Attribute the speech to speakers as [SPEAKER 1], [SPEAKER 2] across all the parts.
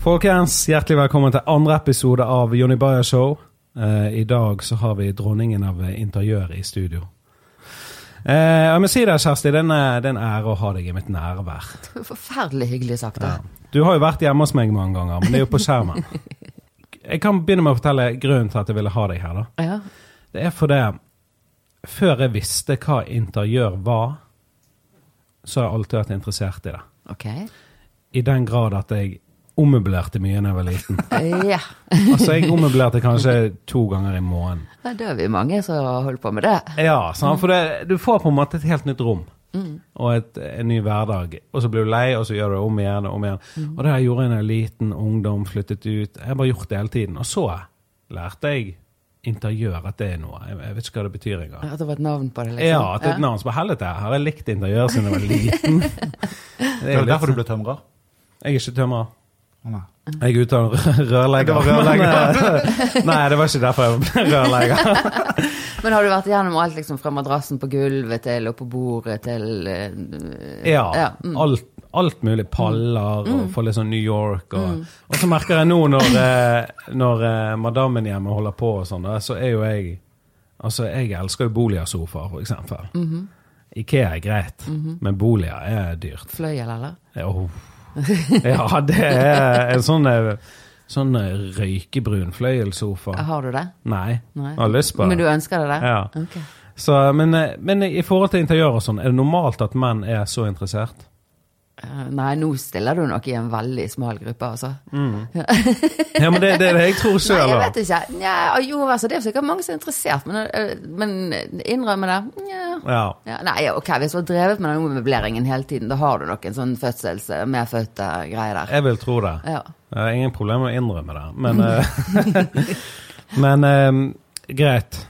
[SPEAKER 1] Folkens, hjertelig velkommen til andre episode av Jonny Bayer Show. Eh, I dag så har vi dronningen av eh, interiør i studio. Eh, jeg må si det, Kjersti, det er en, eh, det er en ære å ha deg i mitt nærvær.
[SPEAKER 2] Forferdelig hyggelig sagt. da.
[SPEAKER 1] Du har jo vært hjemme hos meg mange ganger, men det er jo på skjermen. Jeg kan begynne med å fortelle grunnen til at jeg ville ha deg her. da.
[SPEAKER 2] Ja.
[SPEAKER 1] Det er fordi før jeg visste hva interiør var, så har jeg alltid vært interessert i det.
[SPEAKER 2] Ok.
[SPEAKER 1] I den grad at jeg ommøblerte mye da jeg var liten.
[SPEAKER 2] Ja.
[SPEAKER 1] Altså, jeg ommøblerte kanskje to ganger i måneden.
[SPEAKER 2] Nei, Det er vi mange som holder på med det.
[SPEAKER 1] Ja, sant? for det, du får på en måte et helt nytt rom. Og et, en ny hverdag. Og så blir du lei, og så gjør du det om igjen og om igjen. Og det her gjorde jeg da jeg var liten, ungdom, flyttet ut. Jeg har bare gjort det hele tiden. Og så lærte jeg interiør at det er noe. Jeg, jeg vet ikke hva det betyr engang.
[SPEAKER 2] At det var et navn på det. liksom.
[SPEAKER 1] Ja, at det er et navn som er helvete. Jeg har jeg likt interiør siden jeg var liten.
[SPEAKER 3] Det er jo derfor du ble tømrer.
[SPEAKER 1] Jeg er ikke tømrer.
[SPEAKER 3] Å, nei.
[SPEAKER 1] Jeg er utdannet rør- rørlegger.
[SPEAKER 3] Det var rørlegger.
[SPEAKER 1] Men, eh, Nei, det var ikke derfor jeg ble rørlegger.
[SPEAKER 2] Men har du vært igjennom alt liksom fra madrassen på gulvet til og på bordet til eh,
[SPEAKER 1] Ja.
[SPEAKER 2] Ja, mm.
[SPEAKER 1] alt, alt mulig. Paller og få litt sånn New York. Og,
[SPEAKER 2] Mm.
[SPEAKER 1] og så merker jeg nå når, eh, når eh, madammen hjemme holder på og sånn, da, så er jo jeg Altså, jeg elsker jo boligsofaer, for eksempel.
[SPEAKER 2] Mm.
[SPEAKER 1] Ikea er greit,
[SPEAKER 2] Mm-hmm.
[SPEAKER 1] men boliger er dyrt.
[SPEAKER 2] fløyel, eller?
[SPEAKER 1] Oh. Ja, det er en sånn, eh, sånn eh, røykebrun fløyelssofa.
[SPEAKER 2] Har du det?
[SPEAKER 1] Nei,
[SPEAKER 2] Nei.
[SPEAKER 1] jeg har lyst på det.
[SPEAKER 2] Men du ønsker deg det?
[SPEAKER 1] Ja.
[SPEAKER 2] Ok.
[SPEAKER 1] Så, men, eh, men i forhold til interiør og sånn, er det normalt at menn er så interessert?
[SPEAKER 2] Eh, Nei, nå stiller du nok i en veldig smal gruppe, altså.
[SPEAKER 1] Ja, men det, det er det jeg tror
[SPEAKER 2] Nei,
[SPEAKER 1] sjøl.
[SPEAKER 2] jeg vet ikke. Nja, jo, altså, det er sikkert mange som er interessert, men, eh, men innrømme det Nja.
[SPEAKER 1] Ja.
[SPEAKER 2] Ja, nei, ok, Hvis du har drevet med den ommøbleringen hele tiden, da har du nok en sånn fødsels medfødte greie der.
[SPEAKER 1] Jeg vil tro det.
[SPEAKER 2] Ja.
[SPEAKER 1] Jeg har ingen problemer med å innrømme det. Men, eh, men eh, greit.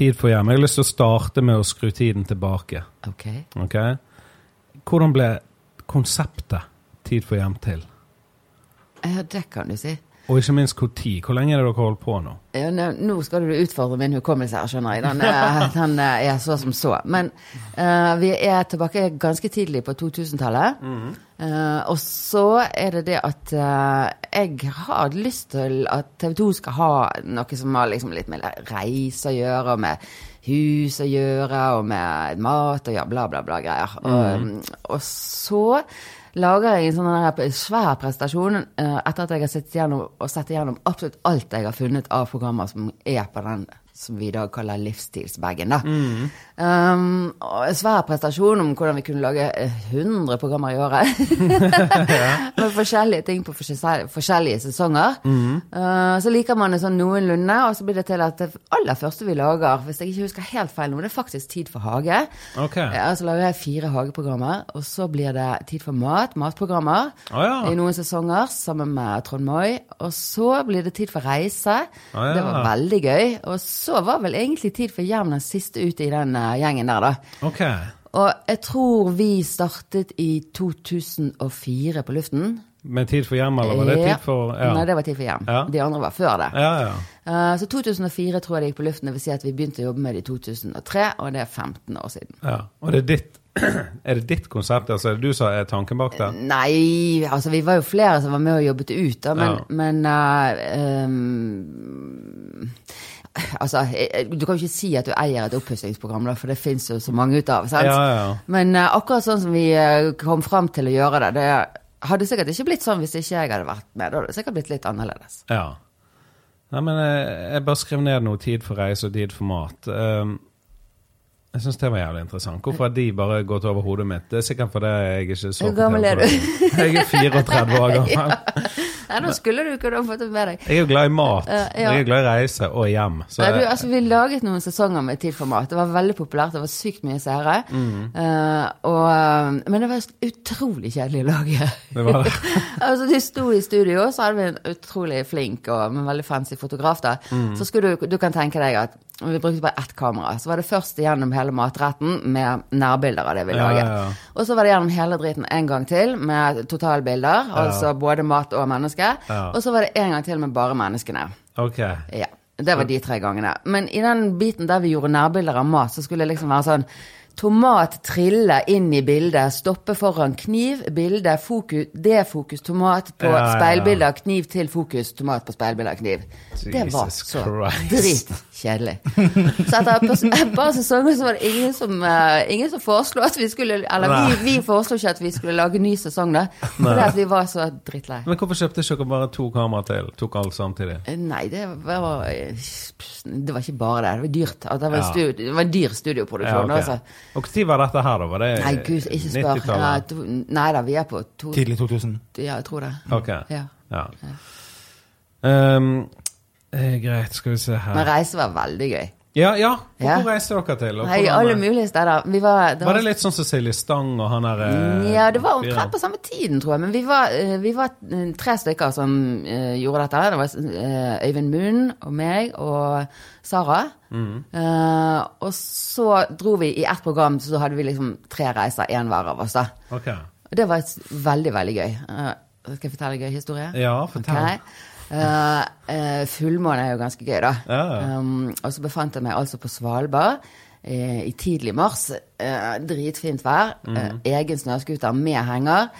[SPEAKER 1] Tid for hjem. Jeg har lyst til å starte med å skru tiden tilbake.
[SPEAKER 2] Ok.
[SPEAKER 1] ok? Hvordan ble konseptet Tid for hjem til?
[SPEAKER 2] Ja, det kan du si.
[SPEAKER 1] Og ikke minst hvor tid? Hvor lenge er det dere holder på nå?
[SPEAKER 2] Ja, nå- nå skal du utfordre min hukommelse her, skjønner jeg. Den, er- den eh, er så som så. Men eh, vi er tilbake ganske tidlig på 2000-tallet. Eh, og så er det det at eh, jeg har lyst til at TV 2 skal ha noe som har liksom litt med reise å gjøre, og med hus å gjøre, og med mat og ja, bla, bla, bla greier. Og, eh, og så lager jeg en sånn her svær prestasjon eh, etter at jeg har sett gjennom, og sett igjennom absolutt alt jeg har funnet av programmer som er på den som vi i dag kaller livsstilsbagen. da. Um, og en svær prestasjon om hvordan vi kunne lage eh, 100 programmer i året. med forskjellige ting på forskjell- forskjellige sesonger. Eh, så liker man det sånn noenlunde, og så blir det til at det aller første vi lager, hvis jeg ikke husker helt feil nå, det er faktisk Tid for hage.
[SPEAKER 1] Ok.
[SPEAKER 2] Ja, så Eh, altså, lager jeg fire hageprogrammer, og så blir det Tid for mat, matprogrammer,
[SPEAKER 1] Å ja.
[SPEAKER 2] i noen sesonger sammen med Trond Moi. Og så blir det Tid for reise.
[SPEAKER 1] Å ja.
[SPEAKER 2] Det var veldig gøy. Og så var vel egentlig Tid for hjem den siste ute i den eh, gjengen der, da.
[SPEAKER 1] Ok.
[SPEAKER 2] Og jeg tror vi startet i 2004 på luften.
[SPEAKER 1] Med Tid for hjem, eller var det
[SPEAKER 2] Ja.
[SPEAKER 1] Tid for ja.
[SPEAKER 2] Nei, det var Tid for hjem.
[SPEAKER 1] Ja.
[SPEAKER 2] De andre var før det.
[SPEAKER 1] ja, ja.
[SPEAKER 2] Eh, Så 2004 tror jeg det gikk på luften. Det vil si at vi begynte å jobbe med det i 2003, og det er 15 år siden.
[SPEAKER 1] Ja, og det er ditt, er det ditt konsept, altså er det du som er tanken bak
[SPEAKER 2] Mm,
[SPEAKER 1] det?
[SPEAKER 2] Nei, altså vi var jo flere som var med og jobbet ut, da, men,
[SPEAKER 1] Ja.
[SPEAKER 2] men eh, ehm, Altså, eh, du kan jo ikke si at du eier et oppussingsprogram, da, for det fins jo så mange ut av. sant?
[SPEAKER 1] Ja, ja, ja.
[SPEAKER 2] Men eh, akkurat sånn som vi eh, kom fram til å gjøre det, det hadde sikkert ikke blitt sånn hvis ikke jeg hadde vært med. Da hadde det sikkert blitt litt annerledes.
[SPEAKER 1] Ja. Nei, men jeg, jeg bare skrev ned noe tid for reise og tid for mat. Ehm, jeg syns det var jævlig interessant. Hvorfor har de bare gått over hodet mitt? Det er sikkert fordi jeg ikke så
[SPEAKER 2] Hvor gammel er du?
[SPEAKER 1] på TV. Jeg er 34 år gammel.
[SPEAKER 2] Nei, da skulle du kunne ha fått det med deg.
[SPEAKER 1] Jeg er jo glad i mat.
[SPEAKER 2] Eh, ja.
[SPEAKER 1] Jeg er glad i reise og hjem. Så
[SPEAKER 2] Nei, du,
[SPEAKER 1] jeg,
[SPEAKER 2] altså, vi laget noen sesonger med Tid for mat. Det var veldig populært, det var sykt mye seere.
[SPEAKER 1] Mm.
[SPEAKER 2] Eh, og, eh, men det var utrolig kjedelig å lage.
[SPEAKER 1] Det var det.
[SPEAKER 2] altså, du sto i studio, så hadde vi en utrolig flink og men veldig fancy fotograf. da.
[SPEAKER 1] Mm.
[SPEAKER 2] Så skulle du, du kan tenke deg at vi brukte bare ett kamera. Så var det først gjennom hele matretten med nærbilder av det vi
[SPEAKER 1] Ja,
[SPEAKER 2] laget.
[SPEAKER 1] ja, ja.
[SPEAKER 2] Og så var det gjennom hele driten en gang til med totalbilder, altså både mat og menneske.
[SPEAKER 1] Ja.
[SPEAKER 2] Og så var det en gang til med bare menneskene.
[SPEAKER 1] ok.
[SPEAKER 2] Ja, det var de tre gangene. Men i den biten der vi gjorde nærbilder av mat, så skulle det liksom være sånn Tomat triller inn i bildet, stopper foran kniv, bilde, fokus, defokus, tomat på
[SPEAKER 1] Ja, ja, ja.
[SPEAKER 2] speilbilde av kniv til fokus, tomat på speilbilde av kniv. det var
[SPEAKER 1] Jesus
[SPEAKER 2] så
[SPEAKER 1] Christ.
[SPEAKER 2] dritkjedelig. Så etter et par, et par sesonger så var det ingen som, eh, ingen som foreslo at vi skulle Eller vi, vi foreslo ikke at vi skulle lage ny sesong, da. Fordi at vi var så drittlei.
[SPEAKER 1] Men hvorfor kjøpte ikke dere bare to kameraer til? Tok alt samtidig?
[SPEAKER 2] Eh, Nei, det var eh, Det var ikke bare det. Det var dyrt. At det, var en
[SPEAKER 1] Ja.
[SPEAKER 2] stu- det var en dyr studioproduksjon.
[SPEAKER 1] ok. Eh,
[SPEAKER 2] altså.
[SPEAKER 1] Og når var dette her, da? Var det
[SPEAKER 2] Nei, gud, ikke spør. Nei,
[SPEAKER 1] 90-tallet?
[SPEAKER 2] to- Nei da, vi er på to
[SPEAKER 3] Tidlig 2000.
[SPEAKER 2] Ja, jeg tror det.
[SPEAKER 1] Ok.
[SPEAKER 2] Ja.
[SPEAKER 1] Ja. Ehm, eh, greit, skal vi se
[SPEAKER 2] Men
[SPEAKER 1] her
[SPEAKER 2] reise var veldig gøy.
[SPEAKER 1] Ja, ja. Og
[SPEAKER 2] Ja.
[SPEAKER 1] hvor reiste dere til? Og
[SPEAKER 2] Nei,
[SPEAKER 1] hvordan-
[SPEAKER 2] alle mulige steder. Vi var, sånn-
[SPEAKER 1] var det litt sånn som Silje Stang og han der eh,
[SPEAKER 2] Ja, det var
[SPEAKER 1] fyren?
[SPEAKER 2] omtrent på samme tiden, tror jeg. Men vi var, eh, vi var eh, tre stykker som eh, gjorde dette. Det var eh, Øyvind Munn og meg og Sara.
[SPEAKER 1] Mm.
[SPEAKER 2] Eh, og så dro vi i ett program, så hadde vi liksom tre reiser én hver av oss. da.
[SPEAKER 1] Ok.
[SPEAKER 2] Og det var et- veldig, veldig gøy. Eh, skal jeg fortelle en gøy historie?
[SPEAKER 1] Ja, fortell.
[SPEAKER 2] Ok. Eh, eh, fullmåne er jo ganske gøy, da.
[SPEAKER 1] Ja.
[SPEAKER 2] Um, og så befant jeg meg altså på Svalbard eh, i tidlig mars. Eh, dritfint vær.
[SPEAKER 1] Mhm.
[SPEAKER 2] Eh, egen snøscooter med henger.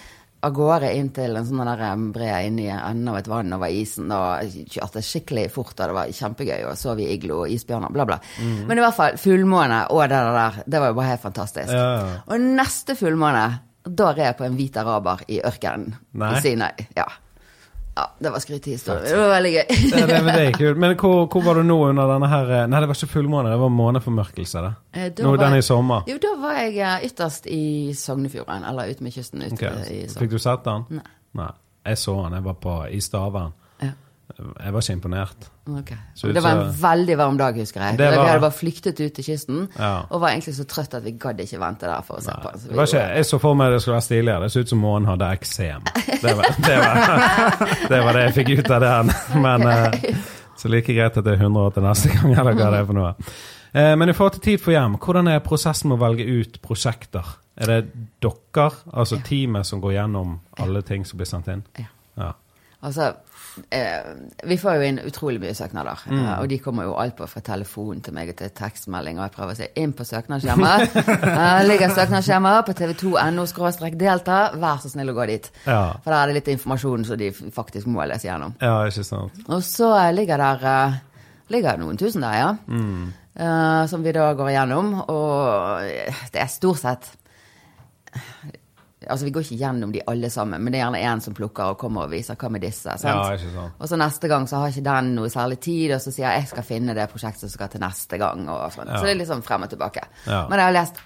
[SPEAKER 2] Av gårde inn til en sånn der eh, bre inni enden av et vann over isen. Og kjørte skikkelig fort, og det var kjempegøy. Og sov i iglo og isbjørner, bla, bla.
[SPEAKER 1] Mhm.
[SPEAKER 2] Men i hvert fall, fullmåne og det der, det var jo bare helt fantastisk.
[SPEAKER 1] Ja, ja.
[SPEAKER 2] Og neste fullmåne, da red jeg på en hvit araber i ørkenen
[SPEAKER 1] Nei.
[SPEAKER 2] i Sinai. Ja. ja, det var skrytehistorie. Det var veldig gøy.
[SPEAKER 1] Ja, det, men det er kult. Men hvor, hvor var du nå under denne her eh, Nei, det var ikke fullmåne, det var måneformørkelse. det.
[SPEAKER 2] Eh, da
[SPEAKER 1] Nå
[SPEAKER 2] var
[SPEAKER 1] den
[SPEAKER 2] jeg-
[SPEAKER 1] i sommer.
[SPEAKER 2] Jo, da var jeg eh, ytterst i Sognefjorden, eller ute med kysten. Ute
[SPEAKER 1] Ok,
[SPEAKER 2] i
[SPEAKER 1] Fikk
[SPEAKER 2] Sogn.
[SPEAKER 1] du sett den?
[SPEAKER 2] Nei.
[SPEAKER 1] Jeg så den. Jeg var på, i Stavern.
[SPEAKER 2] Ja.
[SPEAKER 1] Jeg var ikke imponert.
[SPEAKER 2] ok.
[SPEAKER 1] Så ut
[SPEAKER 2] Det var en
[SPEAKER 1] som-
[SPEAKER 2] veldig varm dag, husker jeg.
[SPEAKER 1] Det var-
[SPEAKER 2] Vi hadde bare flyktet ut til kysten,
[SPEAKER 1] Ja.
[SPEAKER 2] og var egentlig så trøtt at vi gadd ikke vente der for å se
[SPEAKER 1] Det
[SPEAKER 2] på. Så Altså, vi
[SPEAKER 1] var ikke,
[SPEAKER 2] gjorde-
[SPEAKER 1] jeg så for meg det skulle være stiligere. Det så ut som månen hadde eksem. Det var det, var, det var det jeg fikk ut av den. Men eh, så like greit at det er 180 neste gang, eller hva det er for noe. Eh, Men i forhold til Tid for hjem, hvordan er prosessen med å velge ut prosjekter? Er det dere, altså teamet, som går gjennom alle ting som blir sendt inn?
[SPEAKER 2] Ja.
[SPEAKER 1] Ja.
[SPEAKER 2] Altså, eh, vi får jo inn utrolig mye søknader. Eh,
[SPEAKER 1] Mm.
[SPEAKER 2] og de kommer jo alt på fra telefon til meg og til tekstmelding, og jeg prøver å si inn på søknadsskjemaet. eh, ligger søknadsskjemaet på tv2.no delta, vær så snill å gå dit.
[SPEAKER 1] Ja.
[SPEAKER 2] For der er det litt informasjon som de faktisk må lese gjennom.
[SPEAKER 1] ja, ikke sant?
[SPEAKER 2] Og så eh, ligger der eh, ligger det noen tusen der, ja.
[SPEAKER 1] Mm.
[SPEAKER 2] Eh, som vi da går igjennom. Og eh, det er stort sett Altså, vi går ikke gjennom de alle sammen, men det er gjerne én som plukker og kommer og viser hva med disse. sant?
[SPEAKER 1] Ja, ikke sant.
[SPEAKER 2] Og så neste gang så har ikke den noe særlig tid, og så sier jeg jeg skal finne det prosjektet som skal til neste gang. Og sånn.
[SPEAKER 1] Ja.
[SPEAKER 2] Så det er litt sånn frem og tilbake.
[SPEAKER 1] Ja.
[SPEAKER 2] Men jeg har lest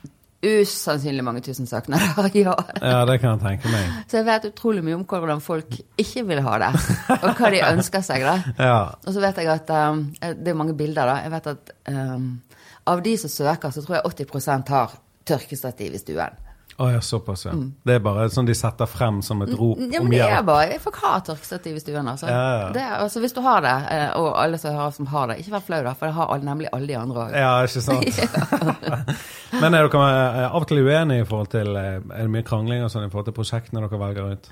[SPEAKER 2] usannsynlig mange tusen søknader. ja.
[SPEAKER 1] Ja, det kan jeg tenke meg.
[SPEAKER 2] Så jeg vet utrolig mye om hvordan folk ikke vil ha det, og hva de ønsker seg. da.
[SPEAKER 1] Ja.
[SPEAKER 2] Og så vet jeg at um, Det er mange bilder, da. Jeg vet at um, av de som søker, så tror jeg 80 har tørkestativ i stuen.
[SPEAKER 1] Å ja, såpass, ja. Det er bare sånn de setter frem som et rop
[SPEAKER 2] Mm. Ja,
[SPEAKER 1] om
[SPEAKER 2] men det er
[SPEAKER 1] hjelp.
[SPEAKER 2] bare, Folk har tørkestativ i stuen. altså.
[SPEAKER 1] Ja, ja.
[SPEAKER 2] Det er, altså hvis du har det, eh, og alle som hører som har det, ikke vær flau, da, for det har alle, nemlig alle de andre òg.
[SPEAKER 1] Ja, ikke sant? men er dere eh, av og til uenige i forhold til eh, Er det mye krangling og sånn i forhold til prosjektene dere velger ut?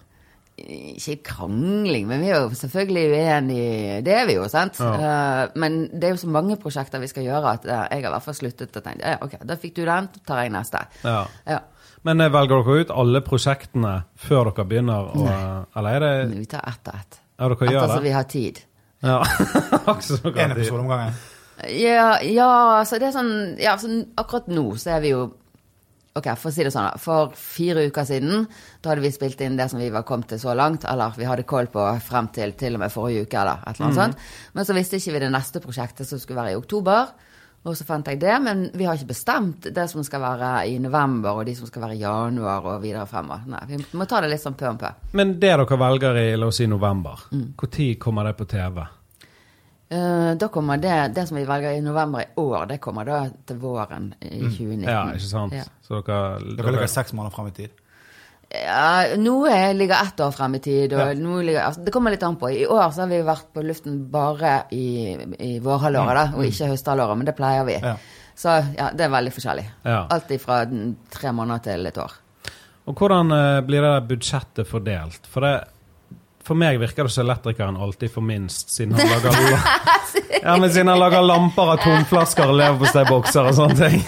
[SPEAKER 2] Ikke krangling, men vi er jo selvfølgelig uenige. Det er vi jo, sant? Eh, men det er jo så mange prosjekter vi skal gjøre at eh, jeg har i hvert fall sluttet å tenke ja, ok, da fikk du den, da tar jeg neste.
[SPEAKER 1] Ja.
[SPEAKER 2] Ja.
[SPEAKER 1] Men eh, velger dere ut alle prosjektene før dere begynner? Og, eller er det
[SPEAKER 2] Men vi tar ett og ett.
[SPEAKER 1] Ja, dere gjør
[SPEAKER 2] Etter
[SPEAKER 1] det?
[SPEAKER 2] som Altså, vi har tid.
[SPEAKER 1] Ja. Akkurat som dere
[SPEAKER 3] En
[SPEAKER 1] har tid.
[SPEAKER 3] episode om gangen.
[SPEAKER 2] Ja, ja, altså det er sånn ja, sånn, Akkurat nå så er vi jo Ok, for å si det sånn, da. For fire uker siden, da hadde vi spilt inn det som vi var kommet til så langt, eller vi hadde koll på frem til til og med forrige uke, eller et
[SPEAKER 1] Mhm.
[SPEAKER 2] eller annet sånt. Men så visste ikke vi det neste prosjektet som skulle være i oktober. Og så fant jeg det, men vi har ikke bestemt det som skal være i november, og de som skal være i januar og videre fremover. Nei, vi må ta det litt sånn pø om pø.
[SPEAKER 1] Men det dere velger i la oss si november,
[SPEAKER 2] Mm.
[SPEAKER 1] når kommer det på TV?
[SPEAKER 2] Eh, da kommer det, det som vi velger i november i år, det kommer da til våren i 2019.
[SPEAKER 1] Mm. Ja, ikke sant?
[SPEAKER 2] Ja.
[SPEAKER 1] Så dere,
[SPEAKER 3] Dere ligger seks måneder fram i tid.
[SPEAKER 2] Ja, nå er- ligger ett år frem i tid, og nå ligger, altså, det kommer litt an på. I år så har vi jo vært på luften bare i, i vårhalvåret, da, og ikke høsthalvåret, men det pleier vi.
[SPEAKER 3] Ja.
[SPEAKER 2] Så ja, det er veldig forskjellig.
[SPEAKER 1] Ja.
[SPEAKER 2] Alt ifra den- tre måneder til et år.
[SPEAKER 1] Og hvordan eh, blir det der budsjettet fordelt? For, det, for meg virker det som elektrikeren alltid får minst, siden han lager, la- ja, men siden han lager lamper av tomflasker og leverpostei-bokser og sånne ting.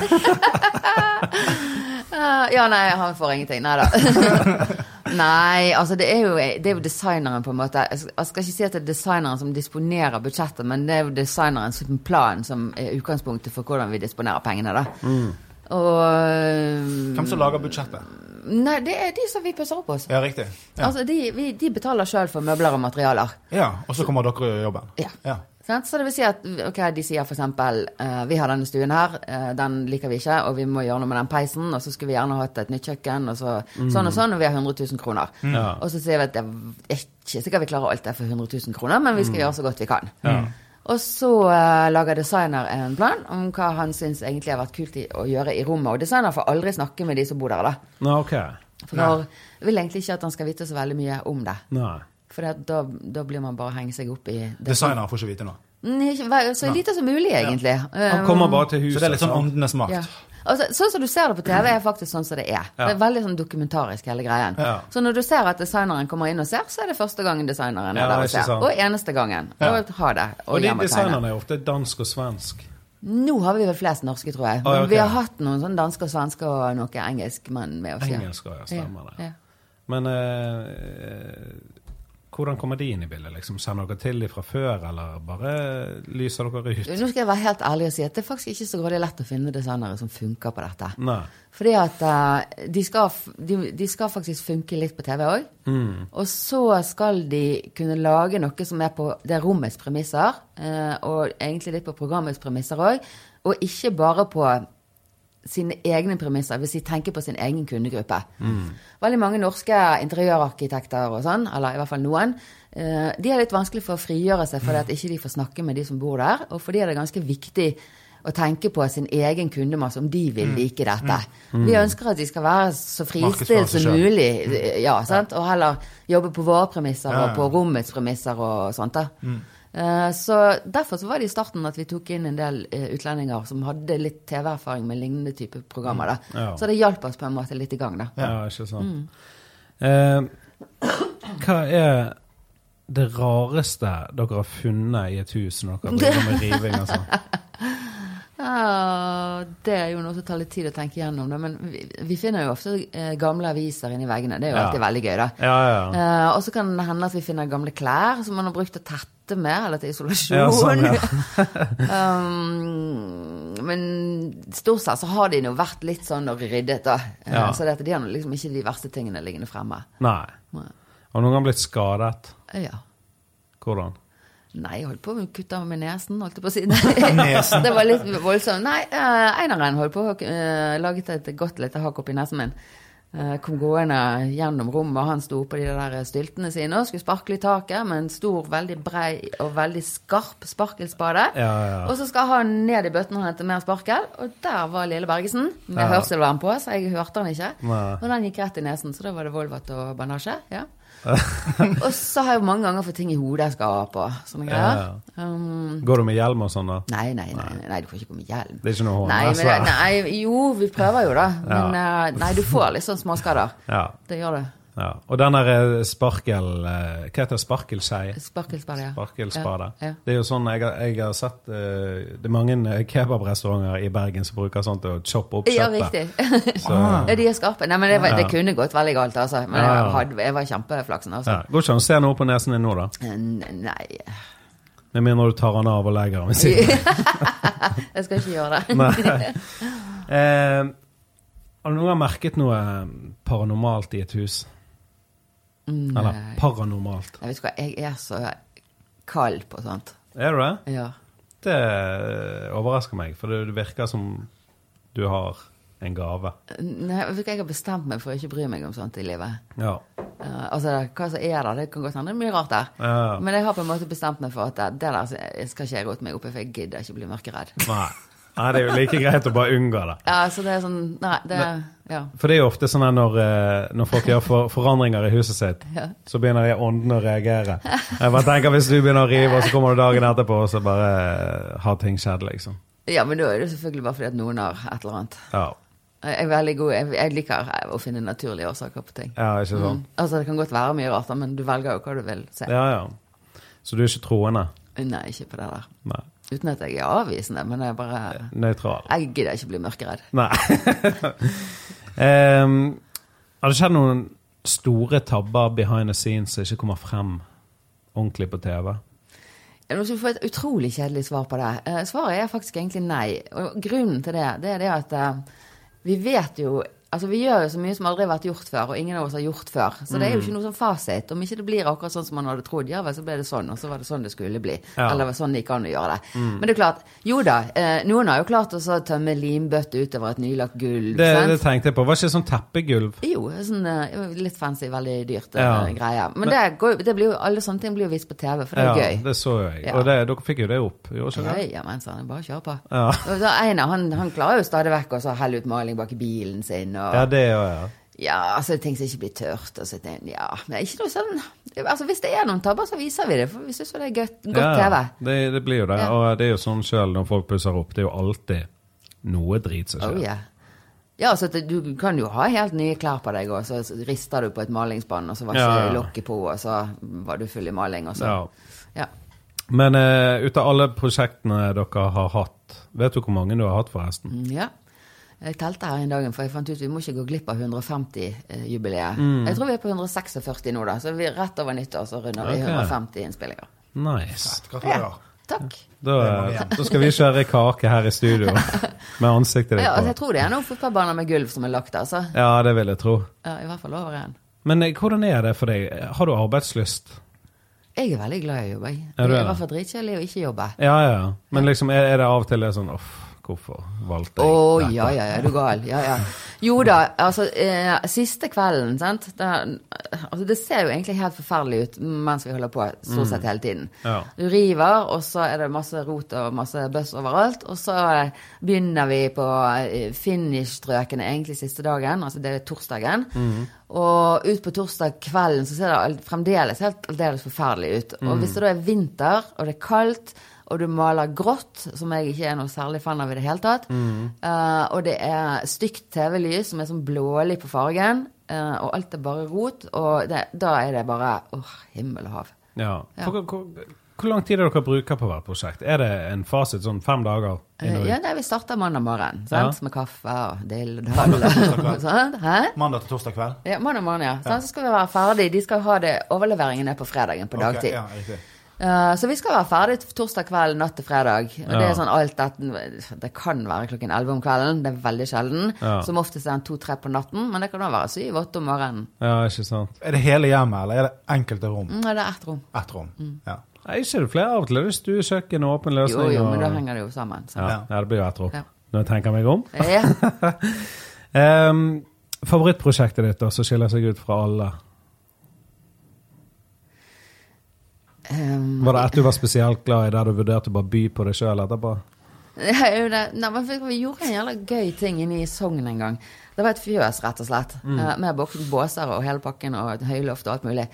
[SPEAKER 2] Eh, ja, nei, han får ingenting. Nei da. nei, altså det er, jo, det er jo designeren, på en måte. Jeg skal, jeg skal ikke si at det er designeren som disponerer budsjettet, men det er jo designeren sin plan som er utgangspunktet for hvordan vi disponerer pengene, da. Og
[SPEAKER 3] Hvem som lager budsjettet?
[SPEAKER 2] Nei, det er de som vi pusser opp hos.
[SPEAKER 3] Ja, riktig. Ja,
[SPEAKER 2] Altså, de, vi, de betaler sjøl for møbler og materialer.
[SPEAKER 3] ja Og så kommer dere og gjør jobben?
[SPEAKER 2] Ja.
[SPEAKER 3] ja.
[SPEAKER 2] Sant? Så det vil si at ok, de sier f.eks.: uh, Vi har denne stuen her, eh, den liker vi ikke, og vi må gjøre noe med den peisen, og så skulle vi gjerne hatt et nytt kjøkken, og så, sånn og sånn, og vi har 100 000 kroner.
[SPEAKER 1] Ja.
[SPEAKER 2] Og så sier vi at det er ikke sikkert vi klarer alt det for 100 000 kroner, men vi skal gjøre så godt vi kan. Og så eh, lager designer en plan om hva han syns egentlig har vært kult i, å gjøre i rommet. Og designer får aldri snakke med de som bor der, da.
[SPEAKER 1] Nei, ok.
[SPEAKER 2] For han vil egentlig ikke at han skal vite så veldig mye om det.
[SPEAKER 1] Nei.
[SPEAKER 2] For det- da, da blir man bare henge seg opp i det
[SPEAKER 3] Designere får ikke vite noe.
[SPEAKER 2] Nei, ikke- vær- Så lite som mulig, egentlig.
[SPEAKER 1] Han kommer bare til huset.
[SPEAKER 3] Så det er litt sånn
[SPEAKER 1] sant?
[SPEAKER 3] åndenes makt.
[SPEAKER 2] Ja. Altså, sånn som du ser det på TV, er faktisk sånn som det er. Det er veldig sånn dokumentarisk, hele greien.
[SPEAKER 3] Ja.
[SPEAKER 2] Så når du ser at designeren kommer inn og ser, så er det første gangen designeren
[SPEAKER 1] Ja,
[SPEAKER 2] er der
[SPEAKER 1] ikke
[SPEAKER 2] og ser.
[SPEAKER 1] sant.
[SPEAKER 2] Og eneste gangen. Og ha det. Og,
[SPEAKER 1] Og de
[SPEAKER 2] hjem og tegne.
[SPEAKER 1] designerne er ofte dansk og svensk.
[SPEAKER 2] Nå har vi vel flest norske, tror jeg.
[SPEAKER 1] Ah, ja, ok.
[SPEAKER 2] Vi har hatt noen sånn danske og svenske og noe engelsk menn med oss. ja.
[SPEAKER 1] Engelsk, ja, stemmer det.
[SPEAKER 2] Ja.
[SPEAKER 1] Men eh, eh, hvordan kommer de inn i bildet? Liksom, Sender dere til de fra før, eller bare lyser dere ut?
[SPEAKER 2] Nå skal jeg være helt ærlig og si at det er faktisk ikke så grådig lett å finne designere som funker på dette.
[SPEAKER 1] Nei.
[SPEAKER 2] Fordi at eh, de, skal, f- de, de skal faktisk funke litt på TV òg.
[SPEAKER 1] Mm.
[SPEAKER 2] Og så skal de kunne lage noe som er på det rommets premisser, eh, og egentlig litt på programmets premisser òg. Og ikke bare på sine egne premisser, hvis de tenker på sin egen kundegruppe.
[SPEAKER 3] Mm.
[SPEAKER 2] Veldig mange norske interiørarkitekter og sånn, eller i hvert fall noen, eh, de har litt vanskelig for å frigjøre seg fordi at ikke de får snakke med de som bor der, og fordi det er ganske viktig å tenke på sin egen kundemasse, om de vil like dette. Vi ønsker at de skal være så
[SPEAKER 3] Mm. Markedsføre
[SPEAKER 2] fristilt
[SPEAKER 3] seg
[SPEAKER 2] som
[SPEAKER 3] selv.
[SPEAKER 2] mulig, Mm. ja, sant? og heller jobbe på våre premisser
[SPEAKER 3] Ja, ja.
[SPEAKER 2] og på rommets premisser og sånt. da. Eh, Så Derfor så var det i starten at vi tok inn en del eh, utlendinger som hadde litt TV-erfaring med lignende type programmer. da.
[SPEAKER 1] Ja.
[SPEAKER 2] Så det hjalp oss på en måte litt i gang. da.
[SPEAKER 1] Ja, ikke sant.
[SPEAKER 2] Mm.
[SPEAKER 1] Eh, hva er det rareste dere har funnet i et hus når dere driver med riving? og sånn?
[SPEAKER 2] Ja, det er jo noe som tar litt tid å tenke gjennom, da, men vi, vi finner jo ofte eh, gamle aviser inni veggene. Det er jo
[SPEAKER 1] Ja.
[SPEAKER 2] alltid veldig gøy, da.
[SPEAKER 1] Ja, ja, ja.
[SPEAKER 2] Eh, og så kan det hende at vi finner gamle klær som man har brukt til å tette med, eller til isolasjon.
[SPEAKER 1] Ja, sånn, ja.
[SPEAKER 2] um, men stort sett så har de nå vært litt sånn og ryddet, da. Eh,
[SPEAKER 1] Ja.
[SPEAKER 2] Så det at de har nå liksom ikke de verste tingene liggende fremme.
[SPEAKER 1] Nei.
[SPEAKER 2] Nei.
[SPEAKER 1] Har noen gang blitt skadet?
[SPEAKER 2] Ja.
[SPEAKER 1] Hvordan?
[SPEAKER 2] Nei, jeg holdt på å kutte av med nesen, holdt jeg på å si. Nei. det var litt voldsomt. Nei, eh, Einaren holdt på å eh, laget et godt lite hakk oppi nesen min. Eh, kom gående gjennom rommet, og han sto på de der styltene sine og skulle sparkle i taket med en stor, veldig brei og veldig skarp sparkelspade.
[SPEAKER 1] Ja, ja.
[SPEAKER 2] Og så skal han ned i bøtten og hente mer sparkel, og der var Lille Bergesen med
[SPEAKER 1] Ja.
[SPEAKER 2] hørselvern på, så jeg hørte han ikke.
[SPEAKER 1] Nei.
[SPEAKER 2] Og den gikk rett i nesen, så da var det Volvat og bandasje. ja. og så har jeg jo mange ganger fått ting i hodet jeg skal ha på. Sånne greier. Um,
[SPEAKER 1] Går du med hjelm og sånn, da?
[SPEAKER 2] nei, nei, nei, nei, nei, du får ikke gå med hjelm.
[SPEAKER 1] Det er ikke noe hånd,
[SPEAKER 2] nei,
[SPEAKER 1] det er
[SPEAKER 2] men, nei, Jo, vi prøver jo, da.
[SPEAKER 1] Ja.
[SPEAKER 2] Men eh, nei, du får litt sånn småskader.
[SPEAKER 1] Ja.
[SPEAKER 2] Det gjør du.
[SPEAKER 1] ja. Og den der eh, sparkel... eh, Hva heter det? Sparkelsei?
[SPEAKER 2] Sparkelspade. ja.
[SPEAKER 1] Sparkelspade.
[SPEAKER 2] Ja, ja.
[SPEAKER 1] Det er jo sånn jeg, har- jeg har sett eh, Det er mange eh, kebabrestauranter i Bergen som bruker sånt til å choppe opp
[SPEAKER 2] Ja,
[SPEAKER 1] kjøttet.
[SPEAKER 2] riktig.
[SPEAKER 1] Så,
[SPEAKER 2] Ja, de er skarpe. Nei, men det, var, det
[SPEAKER 1] Ja.
[SPEAKER 2] kunne gått veldig galt, altså. Men
[SPEAKER 1] Ja,
[SPEAKER 2] jeg,
[SPEAKER 1] ja.
[SPEAKER 2] hadde, jeg var kjempeflaksen, altså.
[SPEAKER 1] ja. Går ikke an å se noe på nesen din nå, da.
[SPEAKER 2] Eh, Nei
[SPEAKER 1] Med mindre du tar den av og legger den ved siden
[SPEAKER 2] Jeg skal ikke gjøre det.
[SPEAKER 1] Nei. Eh, har du noen gang merket noe eh, paranormalt i et hus? Eller paranormalt?
[SPEAKER 2] Jeg Mm, vet ikke hva, jeg er så kald på sånt.
[SPEAKER 1] Er du det?
[SPEAKER 2] Ja.
[SPEAKER 1] Det eh, overrasker meg, for det virker som du har en gave.
[SPEAKER 2] Nei, jeg vet ikke, jeg har bestemt meg for å ikke bry meg om sånt i livet.
[SPEAKER 1] Ja.
[SPEAKER 2] Eh, altså, hva som er der, det kan godt hende det er mye rart der.
[SPEAKER 1] Ja.
[SPEAKER 2] Men jeg har på en måte bestemt meg for at det, det der jeg skal ikke jeg rote meg opp i, for jeg gidder ikke bli mørkeredd.
[SPEAKER 1] Nei. Nei, det er jo like greit å bare unngå det.
[SPEAKER 2] Ja, så det er sånn Nei, det Ja.
[SPEAKER 1] For det er jo ofte sånn at når, eh, når folk gjør for, forandringer i huset sitt, så begynner de åndene å reagere. Jeg bare tenker Hvis du begynner å rive, og så kommer du dagen etterpå, og så bare eh, har ting skjedd, liksom.
[SPEAKER 2] ja, men da er det jo selvfølgelig bare fordi at noen har et eller annet.
[SPEAKER 1] Ja,
[SPEAKER 2] Jeg er veldig god, jeg, jeg liker eh, å finne naturlige årsaker på ting.
[SPEAKER 1] ja ikke sant?
[SPEAKER 2] Altså, det kan godt være mye rart, da, Mm. men du velger jo hva du vil se.
[SPEAKER 1] Ja, ja. Så du er ikke troende?
[SPEAKER 2] Nei, ikke på det der.
[SPEAKER 1] Nei.
[SPEAKER 2] Uten at jeg er avvisende, men jeg bare
[SPEAKER 1] Nøytral.
[SPEAKER 2] Jeg gidder ikke bli mørkeredd.
[SPEAKER 1] Nei. Ehm, har det skjedd noen store tabber behind the scenes som ikke kommer frem ordentlig på TV?
[SPEAKER 2] Jeg må få et utrolig kjedelig svar på det. Eh, Svaret er faktisk egentlig nei. Og grunnen til det, det er det at eh, vi vet jo Altså, vi gjør jo så mye som aldri har vært gjort før, og ingen av oss har gjort før. Så det er jo
[SPEAKER 1] Mm.
[SPEAKER 2] ikke noe sånn fasit. Om ikke det blir akkurat sånn som man hadde trodd, ja vel, så ble det sånn, og så var det sånn det skulle bli.
[SPEAKER 1] Ja. Mm.
[SPEAKER 2] Eller sånn det gikk an å gjøre det. Men det er klart, jo da, eh, noen har jo klart å så tømme limbøtte utover et nylagt gulv.
[SPEAKER 1] Det,
[SPEAKER 2] sant?
[SPEAKER 1] det tenkte jeg på. Var ikke sånn teppegulv?
[SPEAKER 2] Jo, sånn eh, litt fancy, veldig dyrt eh,
[SPEAKER 1] Ja.
[SPEAKER 2] greie. Men, det går, jo- det blir jo, alle sånne ting blir jo vist på TV, for det er
[SPEAKER 1] Ja,
[SPEAKER 2] gøy.
[SPEAKER 1] det så jo jeg.
[SPEAKER 2] Ja.
[SPEAKER 1] Og det, dere fikk jo det opp. Gjorde ikke
[SPEAKER 2] Ja,
[SPEAKER 1] det?
[SPEAKER 2] ja, men sa han, bare kjør på.
[SPEAKER 1] Ja.
[SPEAKER 2] Og så Einar han, han klarer jo stadig vekk å så helle ut maling bak i bilen sin. Og,
[SPEAKER 1] Ja,
[SPEAKER 2] ja.
[SPEAKER 1] det gjør jeg.
[SPEAKER 2] altså ting som ikke blir tørt. Og så, ting- ja, men ikke noe sånn altså Hvis det er noen tabber, så viser vi det, for vi syns jo det er gøy- godt
[SPEAKER 1] Ja,
[SPEAKER 2] TV.
[SPEAKER 1] Det, det blir jo det.
[SPEAKER 2] Ja.
[SPEAKER 1] Og det er jo sånn sjøl når folk pusser opp. Det er jo alltid noe drit som
[SPEAKER 2] Oh,
[SPEAKER 1] skjer.
[SPEAKER 2] yeah. Ja, altså, at Du kan jo ha helt nye klær på deg, og så rister du på et malingsbånd, og så var ikke
[SPEAKER 1] Ja, ja.
[SPEAKER 2] lokket på, og så var du full i maling, og så
[SPEAKER 1] Ja.
[SPEAKER 2] Ja.
[SPEAKER 1] Men eh, ut av alle prosjektene dere har hatt, vet du hvor mange du har hatt, forresten?
[SPEAKER 2] Ja. Jeg telte her en dag, for jeg fant ut vi må ikke gå glipp av 150-jubileet. eh,
[SPEAKER 1] Mm.
[SPEAKER 2] Jeg tror vi er på 146 nå, da. Så vi er rett over nyttår så runder vi
[SPEAKER 1] Ok.
[SPEAKER 2] 150 innspillinger.
[SPEAKER 1] Nice.
[SPEAKER 3] Gratulerer.
[SPEAKER 2] Takk.
[SPEAKER 1] Da, da skal vi kjøre kake her i studio med ansiktet
[SPEAKER 2] Ja, altså, jeg
[SPEAKER 1] ditt på.
[SPEAKER 2] tror det er noen fotballbaner med gulv som er lagt, altså.
[SPEAKER 1] Ja, det vil jeg tro.
[SPEAKER 2] Ja, I hvert fall over en.
[SPEAKER 1] Men eh, hvordan er det for deg? Har du arbeidslyst?
[SPEAKER 2] Jeg er veldig glad i å jobbe. jeg.
[SPEAKER 1] Ja,
[SPEAKER 2] Det
[SPEAKER 1] du er
[SPEAKER 2] er i
[SPEAKER 1] det.
[SPEAKER 2] hvert fall dritkjedelig å ikke jobbe.
[SPEAKER 1] Ja, ja. ja. Men liksom, er, er det av og til det er sånn Uff, hvorfor valgte
[SPEAKER 2] Å,
[SPEAKER 1] jeg
[SPEAKER 2] ja, ja, ja, er du gal. Ja, ja. Jo da, altså, eh, siste kvelden, sant. Da, altså, det ser jo egentlig helt forferdelig ut mens vi holder på, stort sett hele tiden.
[SPEAKER 1] Mm. Ja.
[SPEAKER 2] Du river, og så er det masse rot og masse bøss overalt. Og så eh, begynner vi på eh, finish-strøkene egentlig siste dagen, altså det er torsdagen.
[SPEAKER 1] Mhm.
[SPEAKER 2] Og ut på torsdag kvelden så ser det all- fremdeles helt aldeles forferdelig ut.
[SPEAKER 1] Mhm.
[SPEAKER 2] Og hvis det da er vinter, og det er kaldt, og du maler grått, som jeg ikke er noe særlig fan av i det hele tatt.
[SPEAKER 1] Mhm.
[SPEAKER 2] eh, og det er stygt TV-lys som er sånn blålig på fargen, eh, og alt er bare rot. Og det, da er det bare åh, himmel og hav.
[SPEAKER 1] Ja. Hvor, hvor, hvor lang tid er det dere bruker på hvert prosjekt? Er det en fasit sånn fem dager?
[SPEAKER 2] Eh,
[SPEAKER 1] inn og ut?
[SPEAKER 2] ja, nei, vi starter mandag morgen,
[SPEAKER 1] Ja.
[SPEAKER 2] sant? med kaffe og dill og dall. og sånt. Hæ?
[SPEAKER 3] Mandag til torsdag kveld.
[SPEAKER 2] Ja, mandag morgen, ja. Sånn, Så skal vi være ferdig. De skal ha det, overleveringen er på fredagen på
[SPEAKER 3] Ok,
[SPEAKER 2] dagtid.
[SPEAKER 3] ja, riktig.
[SPEAKER 2] Eh, så vi skal være ferdig t- torsdag kveld, natt til fredag. Og Det
[SPEAKER 1] Ja.
[SPEAKER 2] er sånn alt at Det kan være klokken 11 om kvelden, det er veldig sjelden.
[SPEAKER 1] Ja.
[SPEAKER 2] Som oftest er den to-tre på natten, men det kan også være syv-åtte om morgenen.
[SPEAKER 1] Ja, ikke sant.
[SPEAKER 3] Er det hele hjemmet, eller er det enkelte rom?
[SPEAKER 2] Mm, det er ett rom.
[SPEAKER 3] Ett rom. Ja.
[SPEAKER 1] Nei, ikke det flere av og til. Det er stue, kjøkken og åpen
[SPEAKER 2] Jo,
[SPEAKER 1] løsning.
[SPEAKER 2] jo, men da
[SPEAKER 1] og...
[SPEAKER 2] henger det jo sammen. Så.
[SPEAKER 1] ja,
[SPEAKER 3] Ja.
[SPEAKER 1] ja, det blir jo et rom.
[SPEAKER 2] Ja.
[SPEAKER 1] Når jeg tenker meg om.
[SPEAKER 2] Ja.
[SPEAKER 1] Ehm, favorittprosjektet ditt da, som skiller seg ut fra alle?
[SPEAKER 2] Um,
[SPEAKER 1] Var det et du var spesielt glad i, der du vurderte å bare by på deg sjøl etterpå?
[SPEAKER 2] Ja, jo, det, nei, men for- vi gjorde en jævla gøy ting inne i Sogn en gang. Det var et fjøs, rett og slett. eh, Med bok- båser og hele pakken og et høyloft og alt mulig.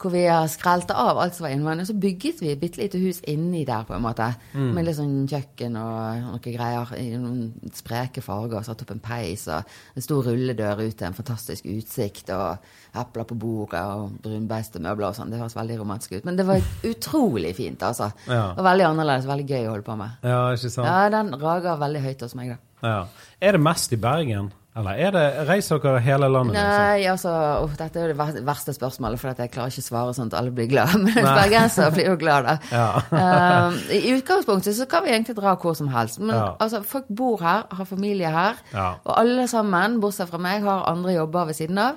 [SPEAKER 2] Hvor vi eh, skrelte av alt som var innvendig. Så bygget vi et bitte lite hus inni der, på en måte. Med litt sånn kjøkken og noen greier i noen spreke farger. og Satt opp en peis og en stor rulledør ut til en fantastisk utsikt. Og epler på bordet og brunbeistemøbler og sånn. Det høres veldig romantisk ut. Men det var utrolig fint, altså.
[SPEAKER 1] Ja.
[SPEAKER 2] Og veldig annerledes. Veldig gøy å holde på med.
[SPEAKER 1] Ja, ikke sant?
[SPEAKER 2] Ja, den rager veldig høyt hos meg, da.
[SPEAKER 1] Ja. Er det mest i Bergen? Eller er det, reiser dere hele landet? liksom?
[SPEAKER 2] Nei, altså åh, Dette er jo det ver- verste spørsmålet, for at jeg klarer ikke å svare sånn at alle blir glad. Men
[SPEAKER 1] Nei.
[SPEAKER 2] bergensere blir jo glad, da.
[SPEAKER 1] Ja.
[SPEAKER 2] Ehm, I utgangspunktet så kan vi egentlig dra hvor som helst. Men
[SPEAKER 1] Ja.
[SPEAKER 2] altså, folk bor her, har familie her.
[SPEAKER 1] Ja.
[SPEAKER 2] Og alle sammen, bortsett fra meg, har andre jobber ved siden av.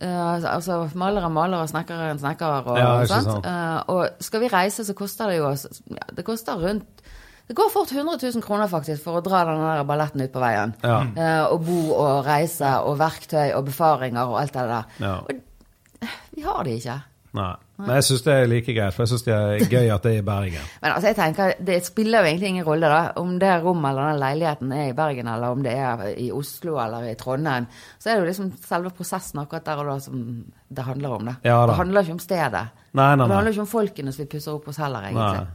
[SPEAKER 2] Eh, altså malere maler og snekkere en snekker og
[SPEAKER 1] Ja, ikke
[SPEAKER 2] sånt.
[SPEAKER 1] sant.
[SPEAKER 2] Eh, og skal vi reise, så koster det jo oss ja, Det koster rundt Det går fort 100 000 kroner, faktisk, for å dra den der balletten ut på veien.
[SPEAKER 1] Ja.
[SPEAKER 2] Eh, og bo og reise og verktøy og befaringer og alt det der.
[SPEAKER 1] Ja.
[SPEAKER 2] Og eh, vi har det ikke.
[SPEAKER 1] Nei. Men jeg syns det er like greit, for jeg syns det er gøy at det er i Bergen.
[SPEAKER 2] Men altså, jeg tenker, det spiller jo egentlig ingen rolle da, om det rommet eller den leiligheten er i Bergen, eller om det er i Oslo eller i Trondheim. Så er det jo liksom selve prosessen akkurat der og da som det handler om. Det,
[SPEAKER 1] Ja da.
[SPEAKER 2] det handler ikke om stedet.
[SPEAKER 1] Nei, nei,
[SPEAKER 2] Og Det handler
[SPEAKER 1] nei.
[SPEAKER 2] ikke om folkene som vi pusser opp hos heller,
[SPEAKER 1] nei.
[SPEAKER 2] egentlig.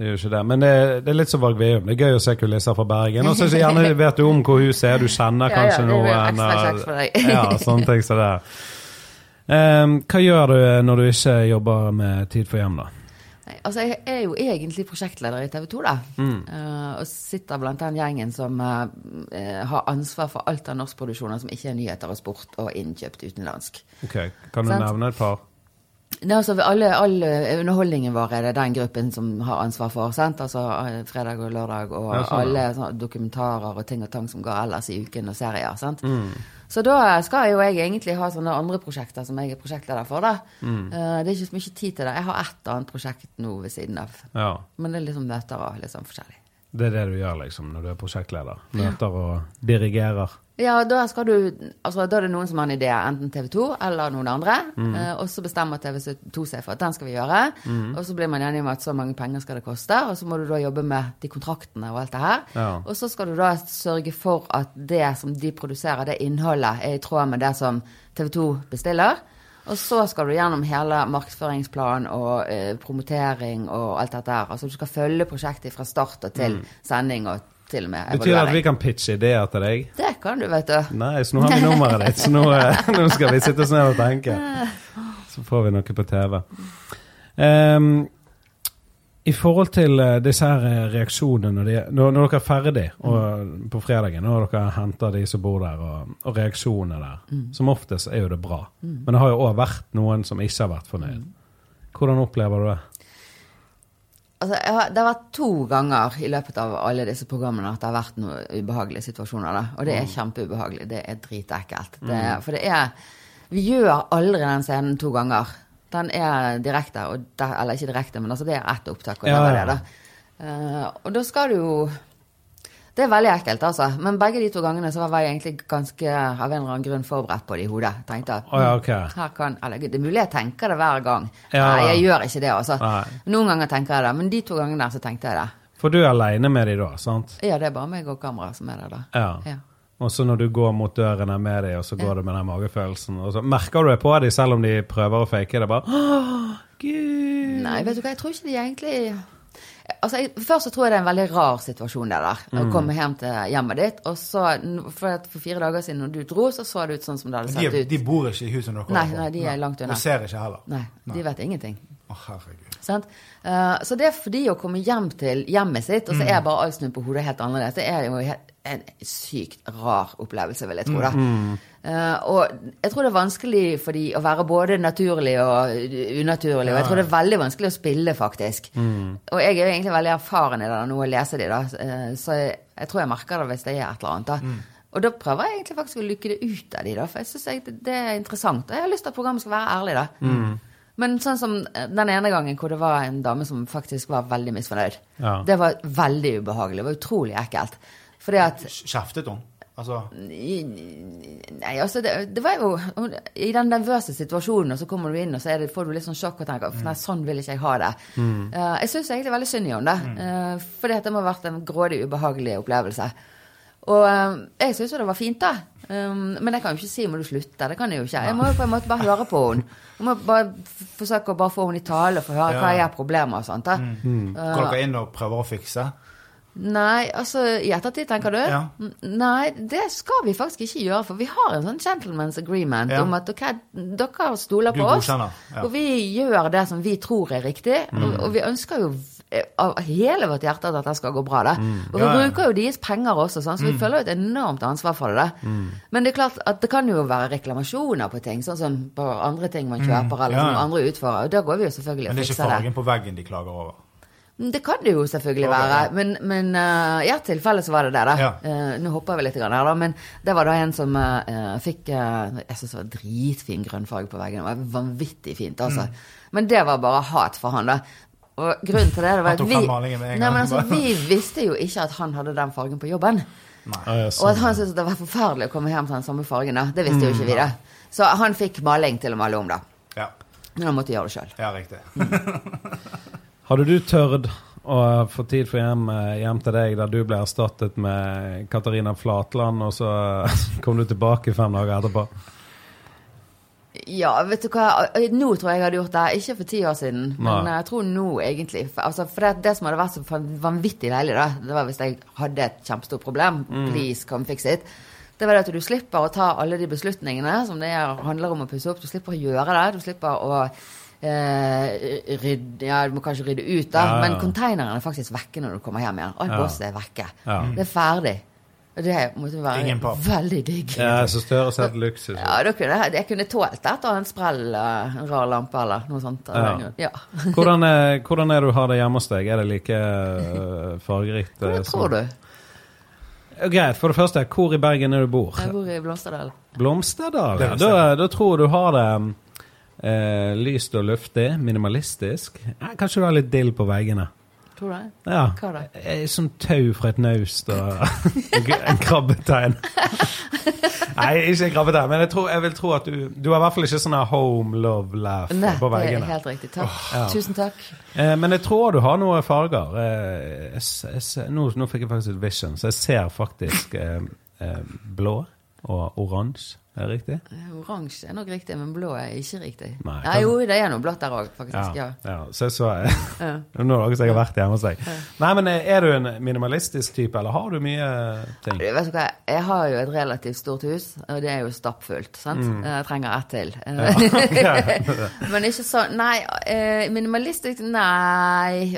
[SPEAKER 1] Det er jo ikke det. Men det, det er litt som Varg Veum. Det er gøy å se kulisser fra Bergen. Og så gjerne vet du om hvor huset er, du kjenner
[SPEAKER 2] Ja, ja,
[SPEAKER 1] kanskje
[SPEAKER 2] det blir jo
[SPEAKER 1] noen.
[SPEAKER 2] ekstra
[SPEAKER 1] eh,
[SPEAKER 2] kjekt for deg.
[SPEAKER 1] ja, sånne ting som eh, det. Ehm, hva gjør du når du ikke jobber med Tid for hjem, da?
[SPEAKER 2] Nei, altså Jeg er jo egentlig prosjektleder i TV 2, da.
[SPEAKER 1] Mm.
[SPEAKER 2] Eh, og sitter blant den gjengen som eh, eh, har ansvar for alt av norskproduksjoner som ikke er nyheter og sport og innkjøpt utenlandsk.
[SPEAKER 1] Ok, Kan du
[SPEAKER 2] Sant.
[SPEAKER 1] nevne et par?
[SPEAKER 2] Nei, altså alle, all eh, underholdningen vår er det den gruppen som har ansvar for. Sant? Altså eh, fredag og lørdag og
[SPEAKER 1] Ja, sånn, ja.
[SPEAKER 2] alle sånne dokumentarer og ting og tang som går ellers i uken og serier. Sant?
[SPEAKER 1] Mm.
[SPEAKER 2] Så da skal jo jeg egentlig ha sånne andre prosjekter som jeg er prosjektleder for. Da.
[SPEAKER 1] Mm.
[SPEAKER 2] Eh, det er ikke så mye tid til det. Jeg har ett annet prosjekt nå ved siden av.
[SPEAKER 1] Ja.
[SPEAKER 2] Men det er liksom møter og litt sånn forskjellig.
[SPEAKER 1] Det er det du gjør liksom når du er prosjektleder. Møter og dirigerer.
[SPEAKER 2] Ja, og da, skal du, altså, da er det noen som har en idé, enten TV 2 eller noen andre.
[SPEAKER 1] Mm.
[SPEAKER 2] Eh, og så bestemmer TV 2 seg for at den skal vi gjøre.
[SPEAKER 1] Mm.
[SPEAKER 2] Og så blir man enig om at så mange penger skal det koste, og så må du da jobbe med de kontraktene og alt det her.
[SPEAKER 1] Ja.
[SPEAKER 2] Og så skal du da sørge for at det som de produserer, det innholdet, er i tråd med det som TV 2 bestiller. Og så skal du gjennom hele markedsføringsplan og eh, promotering og alt dette her. Altså du skal følge prosjektet fra start og til sending og til og med
[SPEAKER 1] Mm. Betyr det at vi
[SPEAKER 2] evaluering.
[SPEAKER 1] kan pitche ideer til deg?
[SPEAKER 2] Det kan du, vet du.
[SPEAKER 1] Nei, så nå har vi nummeret ditt, så nå, eh, nå skal vi sitte oss ned og tenke. Så får vi noe på TV. Ehm, I forhold til eh, disse her eh, reaksjonene når, de, når, når dere er ferdig og, på fredagen, når dere henter de som bor der, og, og reaksjonene der, som oftest er jo det bra. Men det har jo òg vært noen som ikke har vært fornøyd. Hvordan opplever du det?
[SPEAKER 2] Altså, jeg har, det har vært to ganger i løpet av alle disse programmene at det har vært noen ubehagelige situasjoner. Da. Og det
[SPEAKER 1] Mm.
[SPEAKER 2] er kjempeubehagelig. Det er dritekkelt. Det, for det er Vi gjør aldri den scenen to ganger. Den er direkte, og der, eller ikke direkte, men altså det er ett opptak, og det
[SPEAKER 1] Ja,
[SPEAKER 2] var
[SPEAKER 1] ja.
[SPEAKER 2] det, da. Eh, og da skal du jo Det er veldig ekkelt, altså. Men begge de to gangene så var jeg egentlig ganske av en eller annen grunn forberedt på det i hodet. Tenkte at
[SPEAKER 1] Å ja, ok.
[SPEAKER 2] her kan, eller det er mulig jeg tenker det hver gang.
[SPEAKER 1] Ja.
[SPEAKER 2] Nei, jeg gjør ikke det. altså.
[SPEAKER 1] Nei.
[SPEAKER 2] Noen ganger tenker jeg det, men de to gangene der så tenkte jeg det.
[SPEAKER 1] For du er aleine med de da, sant?
[SPEAKER 2] Ja, det er bare meg og kameraet som er der, da.
[SPEAKER 1] Ja.
[SPEAKER 2] Ja.
[SPEAKER 1] Og så når du går mot dørene med dem, og så går du med den magefølelsen, og så merker du det på dem, selv om de prøver å fake det, bare «Åh, Gud!
[SPEAKER 2] Nei, vet du hva, jeg tror ikke de egentlig Altså, jeg, Først så tror jeg det er en veldig rar situasjon, det der. Å komme hjem til hjemmet ditt, og så For, at for fire dager siden når du dro, så så det ut sånn som det hadde sett
[SPEAKER 3] De,
[SPEAKER 2] ut.
[SPEAKER 3] de bor ikke i huset dere
[SPEAKER 2] Nei,
[SPEAKER 3] holder på.
[SPEAKER 2] nei, de er langt unna.
[SPEAKER 3] Og ser ikke heller.
[SPEAKER 2] Nei, de vet ingenting.
[SPEAKER 3] Å, herregud.
[SPEAKER 2] Sant? Eh, så det er fordi å komme hjem til hjemmet sitt, og så er bare alt snudd på hodet helt annerledes, det er jo helt, en sykt rar opplevelse, vil jeg tro. da. Eh, og jeg tror det er vanskelig for de å være både naturlig og unaturlig, og jeg tror det er veldig vanskelig å spille, faktisk. Og jeg er jo egentlig veldig erfaren i det da, nå å lese de, da, eh, så jeg, jeg tror jeg merker det hvis det er et eller annet. da. Og da prøver jeg egentlig faktisk å lykke det ut av de, da, for jeg syns det, det er interessant. Og jeg har lyst til at programmet skal være ærlig, da. Men sånn som eh, den ene gangen hvor det var en dame som faktisk var veldig misfornøyd.
[SPEAKER 1] Ja.
[SPEAKER 2] Det var veldig ubehagelig. Det var utrolig ekkelt. Fordi at
[SPEAKER 3] Kjeftet hun? Altså
[SPEAKER 2] Nei, altså, det, det var jo hun- I den nervøse situasjonen, og så kommer du inn, og så er det, får du litt sånn sjokk og tenker "Uff, Nei, sånn vil ikke jeg ha det. Eh, jeg syns egentlig veldig synd i henne, det. eh, fordi at det må ha vært en grådig ubehagelig opplevelse. Og eh, jeg syns jo det var fint, da. Um, men jeg kan jo ikke si må du slutte. Det kan jeg jo ikke. Jeg må jo på en måte bare høre på henne. Jeg må bare f- forsøke å bare få henne i tale og få høre hva jeg har problemer og sånt. da.
[SPEAKER 3] Går dere inn og prøver å fikse?
[SPEAKER 2] Nei, altså i ettertid, tenker du?
[SPEAKER 3] Ja.
[SPEAKER 2] N- Nei, det skal vi faktisk ikke gjøre, for vi har en sånn gentleman's agreement
[SPEAKER 3] Ja.
[SPEAKER 2] om at ok, dere stoler
[SPEAKER 3] Du
[SPEAKER 2] på oss,
[SPEAKER 3] godkjenner, ja. Mm.
[SPEAKER 2] og vi gjør det som vi tror er riktig, og, og vi ønsker jo eh, av hele vårt hjerte at dette skal gå bra, da. Og vi
[SPEAKER 3] Mm. Ja, Mm. ja.
[SPEAKER 2] bruker jo deres penger også, sånn, så vi føler jo et enormt ansvar for det. da.
[SPEAKER 3] Mm.
[SPEAKER 2] Men det er klart at det kan jo være reklamasjoner på ting, sånn som på andre ting man kjøper, eller
[SPEAKER 3] Mm.
[SPEAKER 2] som
[SPEAKER 3] Ja, ja.
[SPEAKER 2] andre utfører, og da går vi jo selvfølgelig
[SPEAKER 3] Men
[SPEAKER 2] og
[SPEAKER 3] det er ikke
[SPEAKER 2] fikser det.
[SPEAKER 3] fargen på veggen de klager over.
[SPEAKER 2] Mm, Det kan det jo selvfølgelig
[SPEAKER 3] Ok, ja.
[SPEAKER 2] være, men, men eh, i ett tilfelle så var det det, da.
[SPEAKER 3] Ja.
[SPEAKER 2] Eh, nå hopper vi litt grann her, da, men det var da en som eh, eh, fikk eh, Jeg syns det var dritfin grønn farge på veggen. Det var vanvittig fint, altså.
[SPEAKER 3] Mm.
[SPEAKER 2] Men det var bare hat for han, da. Og grunnen til det, det var
[SPEAKER 3] Han
[SPEAKER 2] at
[SPEAKER 3] tok
[SPEAKER 2] vi,
[SPEAKER 3] fram malingen med en
[SPEAKER 2] Nei,
[SPEAKER 3] gang.
[SPEAKER 2] men altså, vi visste jo ikke at han hadde den fargen på jobben.
[SPEAKER 1] Ja, ja,
[SPEAKER 2] Og
[SPEAKER 1] sånn.
[SPEAKER 2] at han syntes det var forferdelig å komme hjem til den samme fargen. da. Det
[SPEAKER 3] Mm,
[SPEAKER 2] visste jo ikke vi, da. Så han fikk maling til å male om, da.
[SPEAKER 3] Ja,
[SPEAKER 2] Men han måtte gjøre det sjøl.
[SPEAKER 3] ja riktig.
[SPEAKER 1] Hadde du tørt å få tid for hjem, eh, hjem til deg, der du ble erstattet med Katarina Flatland, og så kom du tilbake fem dager etterpå?
[SPEAKER 2] Ja, vet du hva. Nå tror jeg jeg hadde gjort det. Ikke for ti år siden, men
[SPEAKER 1] Nei.
[SPEAKER 2] jeg tror nå, egentlig. For, altså, for det, det som hadde vært så fan- vanvittig deilig, da, det var hvis jeg hadde et kjempestort problem.
[SPEAKER 1] Mm.
[SPEAKER 2] Please, come fix it. Det var det at du slipper å ta alle de beslutningene som det er- handler om å pusse opp. Du slipper å gjøre det. Du slipper å eh, rydde, ja, du må kanskje rydde ut, da,
[SPEAKER 1] Ja, ja, ja.
[SPEAKER 2] men konteineren er faktisk vekke når du kommer hjem igjen. Alt
[SPEAKER 1] Ja.
[SPEAKER 2] båset er vekke.
[SPEAKER 1] Ja.
[SPEAKER 2] Det er ferdig. Og det måtte være
[SPEAKER 3] Ingen papp.
[SPEAKER 2] veldig digg.
[SPEAKER 1] Ja, jeg synes det høres helt luksus ut.
[SPEAKER 2] Ja, da kunne jeg, jeg kunne tålt et og en sprell, eh, en rar lampe eller noe sånt. av
[SPEAKER 1] Ja.
[SPEAKER 2] den grunn. Ja.
[SPEAKER 1] Hvordan er, hvordan er det du har det hjemme hos deg? Er det like eh, fargerikt? eh,
[SPEAKER 2] Hva
[SPEAKER 1] som-
[SPEAKER 2] tror du?
[SPEAKER 1] Ja, Greit, for det første, hvor i Bergen er du bor?
[SPEAKER 2] Jeg bor i Blomsterdal.
[SPEAKER 1] Blomsterdal? ja. Da,
[SPEAKER 3] Blomsterdal.
[SPEAKER 1] da tror jeg du har det mm, eh, lyst og luftig, minimalistisk. Eh, kanskje du har litt dill på veggene?
[SPEAKER 2] Tror du det?
[SPEAKER 1] Ja.
[SPEAKER 2] Hva da?
[SPEAKER 1] Eh, Som tau fra et naust og en krabbetein. Nei, ikke en krabbetein, men jeg, tror, jeg vil tro at du Du har i hvert fall ikke sånn her home love laugh
[SPEAKER 2] Nei,
[SPEAKER 1] på
[SPEAKER 2] det er
[SPEAKER 1] veggene.
[SPEAKER 2] helt riktig. Takk.
[SPEAKER 1] ja.
[SPEAKER 2] Tusen takk.
[SPEAKER 1] Eh, men jeg tror du har noen farger. Eh, jeg, s- jeg, s- nå, nå fikk jeg faktisk et vision, så jeg ser faktisk eh, eh, blå og oransje. Er det riktig?
[SPEAKER 2] Eh, Oransje er nok riktig, men blå er ikke riktig.
[SPEAKER 1] Nei,
[SPEAKER 2] ja,
[SPEAKER 1] kan-
[SPEAKER 2] jo, det er noe blått der òg, faktisk. Ja.
[SPEAKER 1] ja. Så jeg så
[SPEAKER 2] Ja.
[SPEAKER 1] Nå er det noen som jeg har vært hjemme hos deg. Nei, men eh, Er du en minimalistisk type, eller har du mye ting?
[SPEAKER 2] Du, Vet du hva, jeg har jo et relativt stort hus, og det er jo stappfullt. sant?
[SPEAKER 1] Mm.
[SPEAKER 2] Jeg trenger ett til. Men ikke sånn Nei, eh, minimalistisk Nei.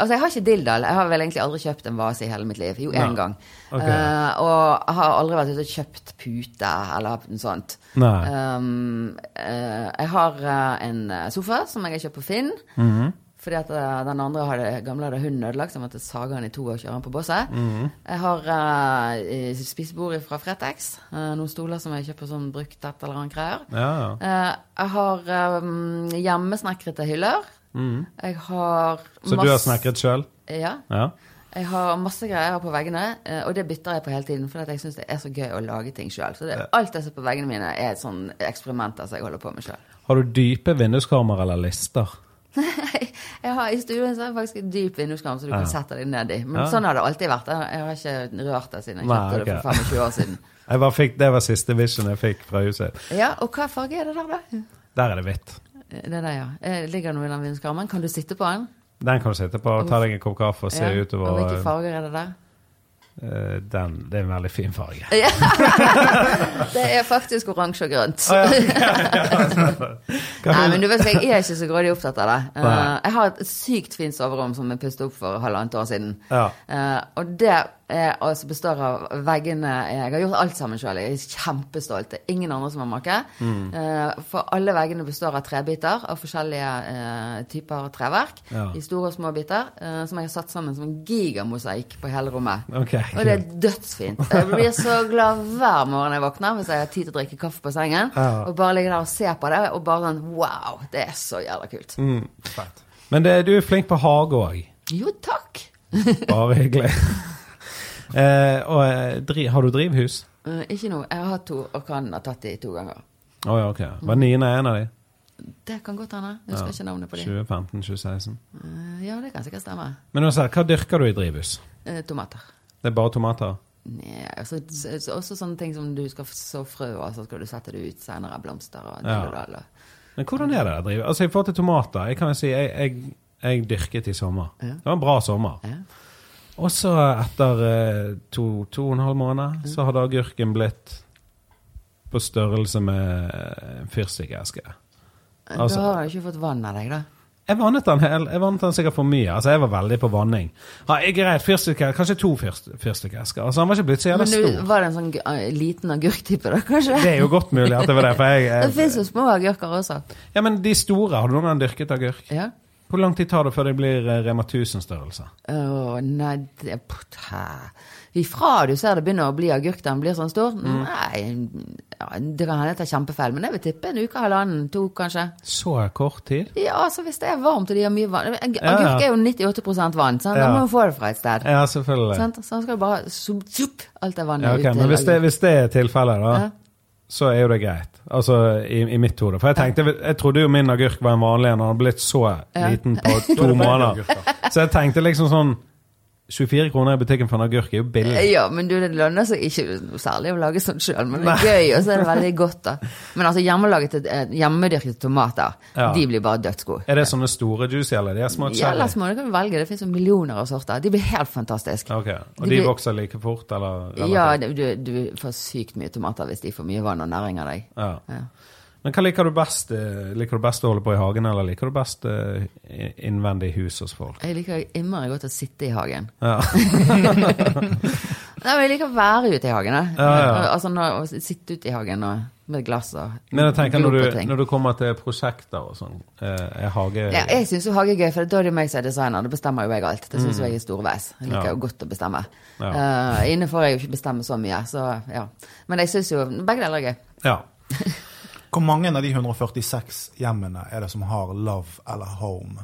[SPEAKER 2] Altså, jeg har ikke dilldall. Jeg har vel egentlig aldri kjøpt en vase i hele mitt liv. Jo, én
[SPEAKER 1] Nei.
[SPEAKER 2] gang.
[SPEAKER 1] Ok.
[SPEAKER 2] Eh, og jeg har aldri vært ute og kjøpt pute eller noe sånt.
[SPEAKER 1] Nei.
[SPEAKER 2] Um, eh, jeg har eh, en eh, sofa som jeg har kjøpt på Finn.
[SPEAKER 1] Mhm.
[SPEAKER 2] Fordi at eh, den andre hadde, gamle hadde hunden ødelagt, så jeg måtte sage den i to og kjøre den på båset.
[SPEAKER 1] Mhm.
[SPEAKER 2] Jeg har uh, spisebord fra Fretex. eh, noen stoler som jeg kjøper som brukt et eller annet greier.
[SPEAKER 1] Ja, ja.
[SPEAKER 2] Eh, jeg har um, hjemmesnekrete hyller. Jeg har
[SPEAKER 1] Mhm. Så du har
[SPEAKER 2] masse-
[SPEAKER 1] snekret sjøl?
[SPEAKER 2] Ja.
[SPEAKER 1] Ja.
[SPEAKER 2] Jeg har masse greier på veggene, eh, og det bytter jeg på hele tiden. For at jeg syns det er så gøy å lage ting sjøl. Så det, alt jeg ser på veggene mine, er et sånn eksperimenter som jeg holder på med sjøl.
[SPEAKER 1] Har du dype vinduskarmer eller lister?
[SPEAKER 2] Jeg har I stuen så har jeg faktisk en dyp vinduskarm som du
[SPEAKER 1] Ja.
[SPEAKER 2] kan sette deg ned i. Men
[SPEAKER 1] Ja.
[SPEAKER 2] sånn har det alltid vært. Jeg jeg har ikke rørt det siden jeg
[SPEAKER 1] Nei,
[SPEAKER 2] kjøpte det
[SPEAKER 1] ok.
[SPEAKER 2] for 25 år siden.
[SPEAKER 1] Jeg bare fikk, det var siste vision jeg fikk fra huset.
[SPEAKER 2] Ja, Og hva farge er det der, da?
[SPEAKER 1] Der er det hvitt.
[SPEAKER 2] Eh, Det der, ja. Eh, Ligger det noe i den vinduskarmen? Kan du sitte på den?
[SPEAKER 1] Den kan du sitte på og ta deg en kopp kaffe og se
[SPEAKER 2] Ja. Og
[SPEAKER 1] utover.
[SPEAKER 2] hvilke farger er det der?
[SPEAKER 1] eh, den, det er en veldig fin farge.
[SPEAKER 2] Ja. Det er faktisk oransje og grønt. Nei, men du vet, hva, Jeg er ikke så grådig opptatt av det. Eh,
[SPEAKER 1] Nei.
[SPEAKER 2] jeg har et sykt fint soverom som jeg pustet opp for halvannet år siden.
[SPEAKER 1] Ja.
[SPEAKER 2] Eh, og det er, altså består av veggene Jeg har gjort alt sammen sjøl. Jeg er kjempestolt. Det er ingen andre som har make.
[SPEAKER 1] Mm.
[SPEAKER 2] Eh, for alle veggene består av trebiter av forskjellige eh, typer treverk.
[SPEAKER 1] Ja.
[SPEAKER 2] I store og små biter. eh, som jeg har satt sammen som en gigamosaikk på hele rommet.
[SPEAKER 1] Ok,
[SPEAKER 2] og det er dødsfint. Jeg blir så glad hver morgen jeg våkner hvis jeg har tid til å drikke kaffe på sengen.
[SPEAKER 1] Ja.
[SPEAKER 2] Og bare ligge der og se på det, og bare sånn Wow, det er så jævla kult.
[SPEAKER 3] Fett.
[SPEAKER 1] Mm. Men det, du er flink på hage òg.
[SPEAKER 2] Jo, takk.
[SPEAKER 1] Bare hyggelig. Eh, og eh, dri, har du drivhus?
[SPEAKER 2] Eh, ikke noe. Jeg har hatt to, og kan ha tatt de to ganger.
[SPEAKER 1] Å ja, ok. Var Nina en av de?
[SPEAKER 2] Det kan godt hende. Jeg husker ikke navnet på de.
[SPEAKER 1] 2015-2016.
[SPEAKER 2] Eh, Ja, det kan sikkert stemme.
[SPEAKER 1] Men uansett, hva dyrker du i drivhus?
[SPEAKER 2] Eh, tomater.
[SPEAKER 1] Det er bare tomater?
[SPEAKER 2] Nei, altså, så, så, også sånne ting som du skal så frø, og så skal du sette det ut senere. Blomster og
[SPEAKER 1] Ja.
[SPEAKER 2] dilledal. og-
[SPEAKER 1] Men hvordan er det å drive? Altså, i forhold til tomater, jeg kan jo si jeg, jeg, jeg dyrket i sommer.
[SPEAKER 2] Ja.
[SPEAKER 1] Det var en bra sommer.
[SPEAKER 2] Ja.
[SPEAKER 1] Og så etter eh, to, to og en halv
[SPEAKER 2] Mm.
[SPEAKER 1] måned, så hadde agurken blitt på størrelse med eh, en fyrstikkeske. Altså-
[SPEAKER 2] Eh, da har du ikke fått vann av deg, da.
[SPEAKER 1] Jeg vannet den, hel, jeg vannet den sikkert for mye. Altså, jeg var veldig på vanning. Ja, jeg greit, fyrstikke, kanskje to fyrst- fyrstikkesker. Altså, han var ikke blitt så
[SPEAKER 2] Men
[SPEAKER 1] jævla
[SPEAKER 2] du,
[SPEAKER 1] stor.
[SPEAKER 2] var det en sånn gu- eh, liten agurktype, da, kanskje?
[SPEAKER 1] Det er jo godt mulig at det var det, for jeg, jeg
[SPEAKER 2] Det fins jo små agurker også.
[SPEAKER 1] Ja, men de store, har du noen gang dyrket agurk?
[SPEAKER 2] Ja.
[SPEAKER 1] Hvor lang tid tar det før de blir eh, Rema 1000-størrelse?
[SPEAKER 2] Å, nei det, putt, hæ. Ifra du ser det begynner å bli agurk, den blir sånn stor
[SPEAKER 1] Mm.
[SPEAKER 2] Nei, ja, det kan hende jeg tar kjempefeil, men jeg vil tippe en uke, halvannen, to, kanskje.
[SPEAKER 1] Så kort tid?
[SPEAKER 2] Ja, altså hvis det er varmt og de har mye vann Ag-
[SPEAKER 1] Ja, ja.
[SPEAKER 2] Agurk er jo 98 vann, sant?
[SPEAKER 1] Ja.
[SPEAKER 2] da må du få det fra et sted.
[SPEAKER 1] Ja, selvfølgelig.
[SPEAKER 2] Sant? Så han skal jo bare zoom, zoop, alt Sånn det vannet
[SPEAKER 1] Ja, ok,
[SPEAKER 2] ut
[SPEAKER 1] men
[SPEAKER 2] til
[SPEAKER 1] hvis det,
[SPEAKER 2] agurk.
[SPEAKER 1] hvis det er tilfellet, da,
[SPEAKER 2] Ja.
[SPEAKER 1] så er jo det greit. Altså i, i mitt hode. For jeg tenkte, jeg trodde jo min agurk var en vanlig en, og den har blitt så liten på
[SPEAKER 3] Da er
[SPEAKER 1] to
[SPEAKER 3] det bare
[SPEAKER 1] måneder.
[SPEAKER 3] agurker.
[SPEAKER 1] Så jeg tenkte liksom sånn 24 kroner i butikken for en agurk er jo billig.
[SPEAKER 2] Ja, men du, det lønner seg ikke noe særlig å lage sånn sjøl, men det er gøy, og så er det veldig godt, da. Men altså, hjemmelaget, eh, hjemmedyrkede tomater,
[SPEAKER 1] Ja.
[SPEAKER 2] de blir bare dødsgode.
[SPEAKER 1] Er det sånne store juicy, eller de er små
[SPEAKER 2] Ja,
[SPEAKER 1] cherry?
[SPEAKER 2] ellers må du kan velge, det fins jo millioner av sorter. De blir helt fantastiske.
[SPEAKER 1] Ok, Og
[SPEAKER 2] De
[SPEAKER 1] de
[SPEAKER 2] blir-
[SPEAKER 1] vokser like fort, eller?
[SPEAKER 2] Ja, du, du får sykt mye tomater hvis de får mye vann og næring av deg.
[SPEAKER 1] Ja.
[SPEAKER 2] Ja.
[SPEAKER 1] Men hva liker du best? eh, Liker du best å holde på i hagen, eller liker du best eh, i- innvendig i hus hos folk?
[SPEAKER 2] Jeg liker innmari godt å sitte i hagen.
[SPEAKER 1] Ja.
[SPEAKER 2] Nei, men Jeg liker å være ute i hagen. da.
[SPEAKER 1] Ja, ja.
[SPEAKER 2] Altså, når, å sitte ute i hagen og, med glass og
[SPEAKER 1] Men jeg tenker når
[SPEAKER 2] glo på
[SPEAKER 1] du,
[SPEAKER 2] ting.
[SPEAKER 1] når du kommer til prosjekter og sånn, eh, er hage
[SPEAKER 2] Ja, jeg syns jo hage er gøy, for da er det jo meg som er designer. Da bestemmer jo jeg alt. Det
[SPEAKER 3] Mm.
[SPEAKER 2] syns jo jeg er storveis. Jeg liker
[SPEAKER 1] Ja.
[SPEAKER 2] jo godt å bestemme.
[SPEAKER 1] Ja.
[SPEAKER 2] Eh, inne får jeg jo ikke bestemme så mye, så ja. Men jeg syns jo begge deler er gøy.
[SPEAKER 1] Ja.
[SPEAKER 3] Hvor mange av de 146 hjemmene er det som har love eller home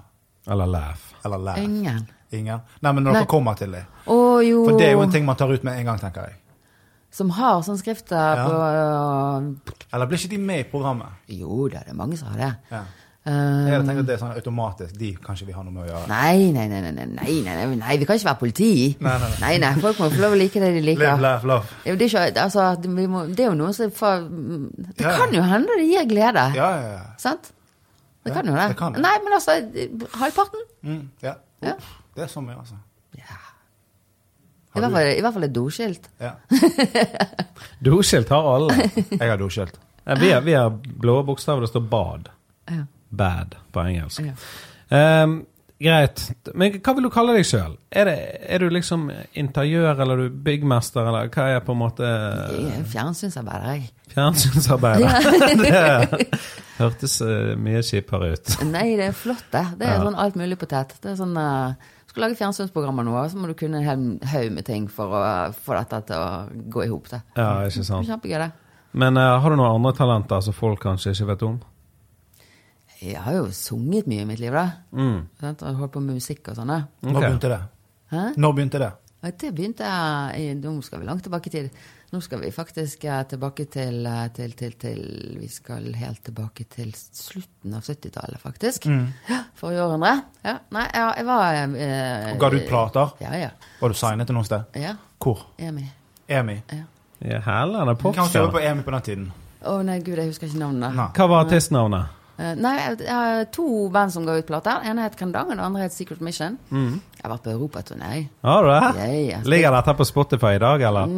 [SPEAKER 1] Eller laugh.
[SPEAKER 3] eller laugh?
[SPEAKER 2] Ingen.
[SPEAKER 3] Ingen? Nei, men når
[SPEAKER 2] Nei.
[SPEAKER 3] dere kommer til dem.
[SPEAKER 2] Å jo.
[SPEAKER 3] For det er jo en ting man tar ut med en gang, tenker jeg.
[SPEAKER 2] Som har sånn skrift der
[SPEAKER 3] Ja.
[SPEAKER 2] på eh,
[SPEAKER 3] Eller blir ikke de med i programmet?
[SPEAKER 2] Jo da, det er mange som har det.
[SPEAKER 3] Ja.
[SPEAKER 2] Eh,
[SPEAKER 3] Jeg tenker at det er sånn automatisk. De kanskje vi har noe med å gjøre.
[SPEAKER 2] Nei nei nei nei, nei, nei, nei, nei, nei, vi kan ikke være politi.
[SPEAKER 3] Nei, nei,
[SPEAKER 2] nei, folk må få lov å like det de
[SPEAKER 3] Live,
[SPEAKER 2] liker.
[SPEAKER 3] laugh, love.
[SPEAKER 2] Det er jo det ikke, altså, det- vi må, det er jo noe som for, Det
[SPEAKER 3] Ja, ja.
[SPEAKER 2] kan jo hende det gir glede.
[SPEAKER 3] Ja, ja, ja.
[SPEAKER 2] Sant? Det
[SPEAKER 3] Ja,
[SPEAKER 2] kan jo det.
[SPEAKER 3] det kan det.
[SPEAKER 2] Nei, men altså, halvparten.
[SPEAKER 3] Mm, ja.
[SPEAKER 2] Ja.
[SPEAKER 3] Det er så mye, altså.
[SPEAKER 2] Ja. I,
[SPEAKER 3] Har
[SPEAKER 2] hvert
[SPEAKER 3] du-
[SPEAKER 2] fall, I hvert fall et doskilt.
[SPEAKER 3] Ja.
[SPEAKER 1] Doskilt har alle.
[SPEAKER 3] Jeg har doskilt.
[SPEAKER 1] Ja, Vi har, vi har blå bokstaver, det står bad.
[SPEAKER 2] Ja.
[SPEAKER 1] Bad på engelsk.
[SPEAKER 2] Ja.
[SPEAKER 1] Ehm, greit. Men hva vil du kalle deg sjøl? Er, det- er du liksom interiør, eller er du byggmester, eller hva er på en måte
[SPEAKER 2] Jeg er fjernsynsarbeider, jeg.
[SPEAKER 1] fjernsynsarbeider? det hørtes eh, mye kjipere ut.
[SPEAKER 2] Nei, det er flott, det. Det er
[SPEAKER 1] Ja.
[SPEAKER 2] sånn alt mulig potet. Det er sånn eh, Skal lage fjernsynsprogrammer nå, så må du kunne en hel haug med ting for å få dette til å gå i hop. Det
[SPEAKER 1] Ja, ikke
[SPEAKER 2] er
[SPEAKER 1] sant.
[SPEAKER 2] kjempegøy, det.
[SPEAKER 1] Men eh, har du noen andre talenter som folk kanskje ikke vet om?
[SPEAKER 2] Jeg har jo sunget mye i mitt liv, da.
[SPEAKER 1] Mm.
[SPEAKER 2] Sant? Og holdt på med musikk og sånn. da.
[SPEAKER 3] Når
[SPEAKER 1] Ok.
[SPEAKER 3] begynte det?
[SPEAKER 2] Hæ?
[SPEAKER 3] Når begynte det?
[SPEAKER 2] Og Det begynte jeg i Nå skal vi langt tilbake i tid. Nå skal vi faktisk eh, tilbake til, eh, til, til, til Vi skal helt tilbake til slutten av 70-tallet, faktisk.
[SPEAKER 3] Mm.
[SPEAKER 2] Ja, Forrige århundre. Ja, nei, ja, jeg var eh,
[SPEAKER 3] Og Ga du ut plater?
[SPEAKER 2] Ja, ja.
[SPEAKER 3] Var du signet til noe sted?
[SPEAKER 2] ja.
[SPEAKER 3] Hvor?
[SPEAKER 2] Emi.
[SPEAKER 3] EMI?
[SPEAKER 2] Ja.
[SPEAKER 1] Ja, Hælen er
[SPEAKER 3] Kan man kjøpe
[SPEAKER 1] popstjerne.
[SPEAKER 3] på EMI på den tiden?
[SPEAKER 2] Å nei, gud, jeg husker ikke navnet.
[SPEAKER 3] Nei.
[SPEAKER 1] Hva var artistnavnet?
[SPEAKER 2] Eh, nei, jeg, jeg har to band som ga ut plater. Den ene het Kandang, og den andre het Secret Mission.
[SPEAKER 3] Mm.
[SPEAKER 2] Jeg har vært på europaturné. jeg.
[SPEAKER 1] Har du
[SPEAKER 3] Ah,
[SPEAKER 1] det?
[SPEAKER 2] Ja, ja.
[SPEAKER 1] Ligger dette på Spotify i dag, eller?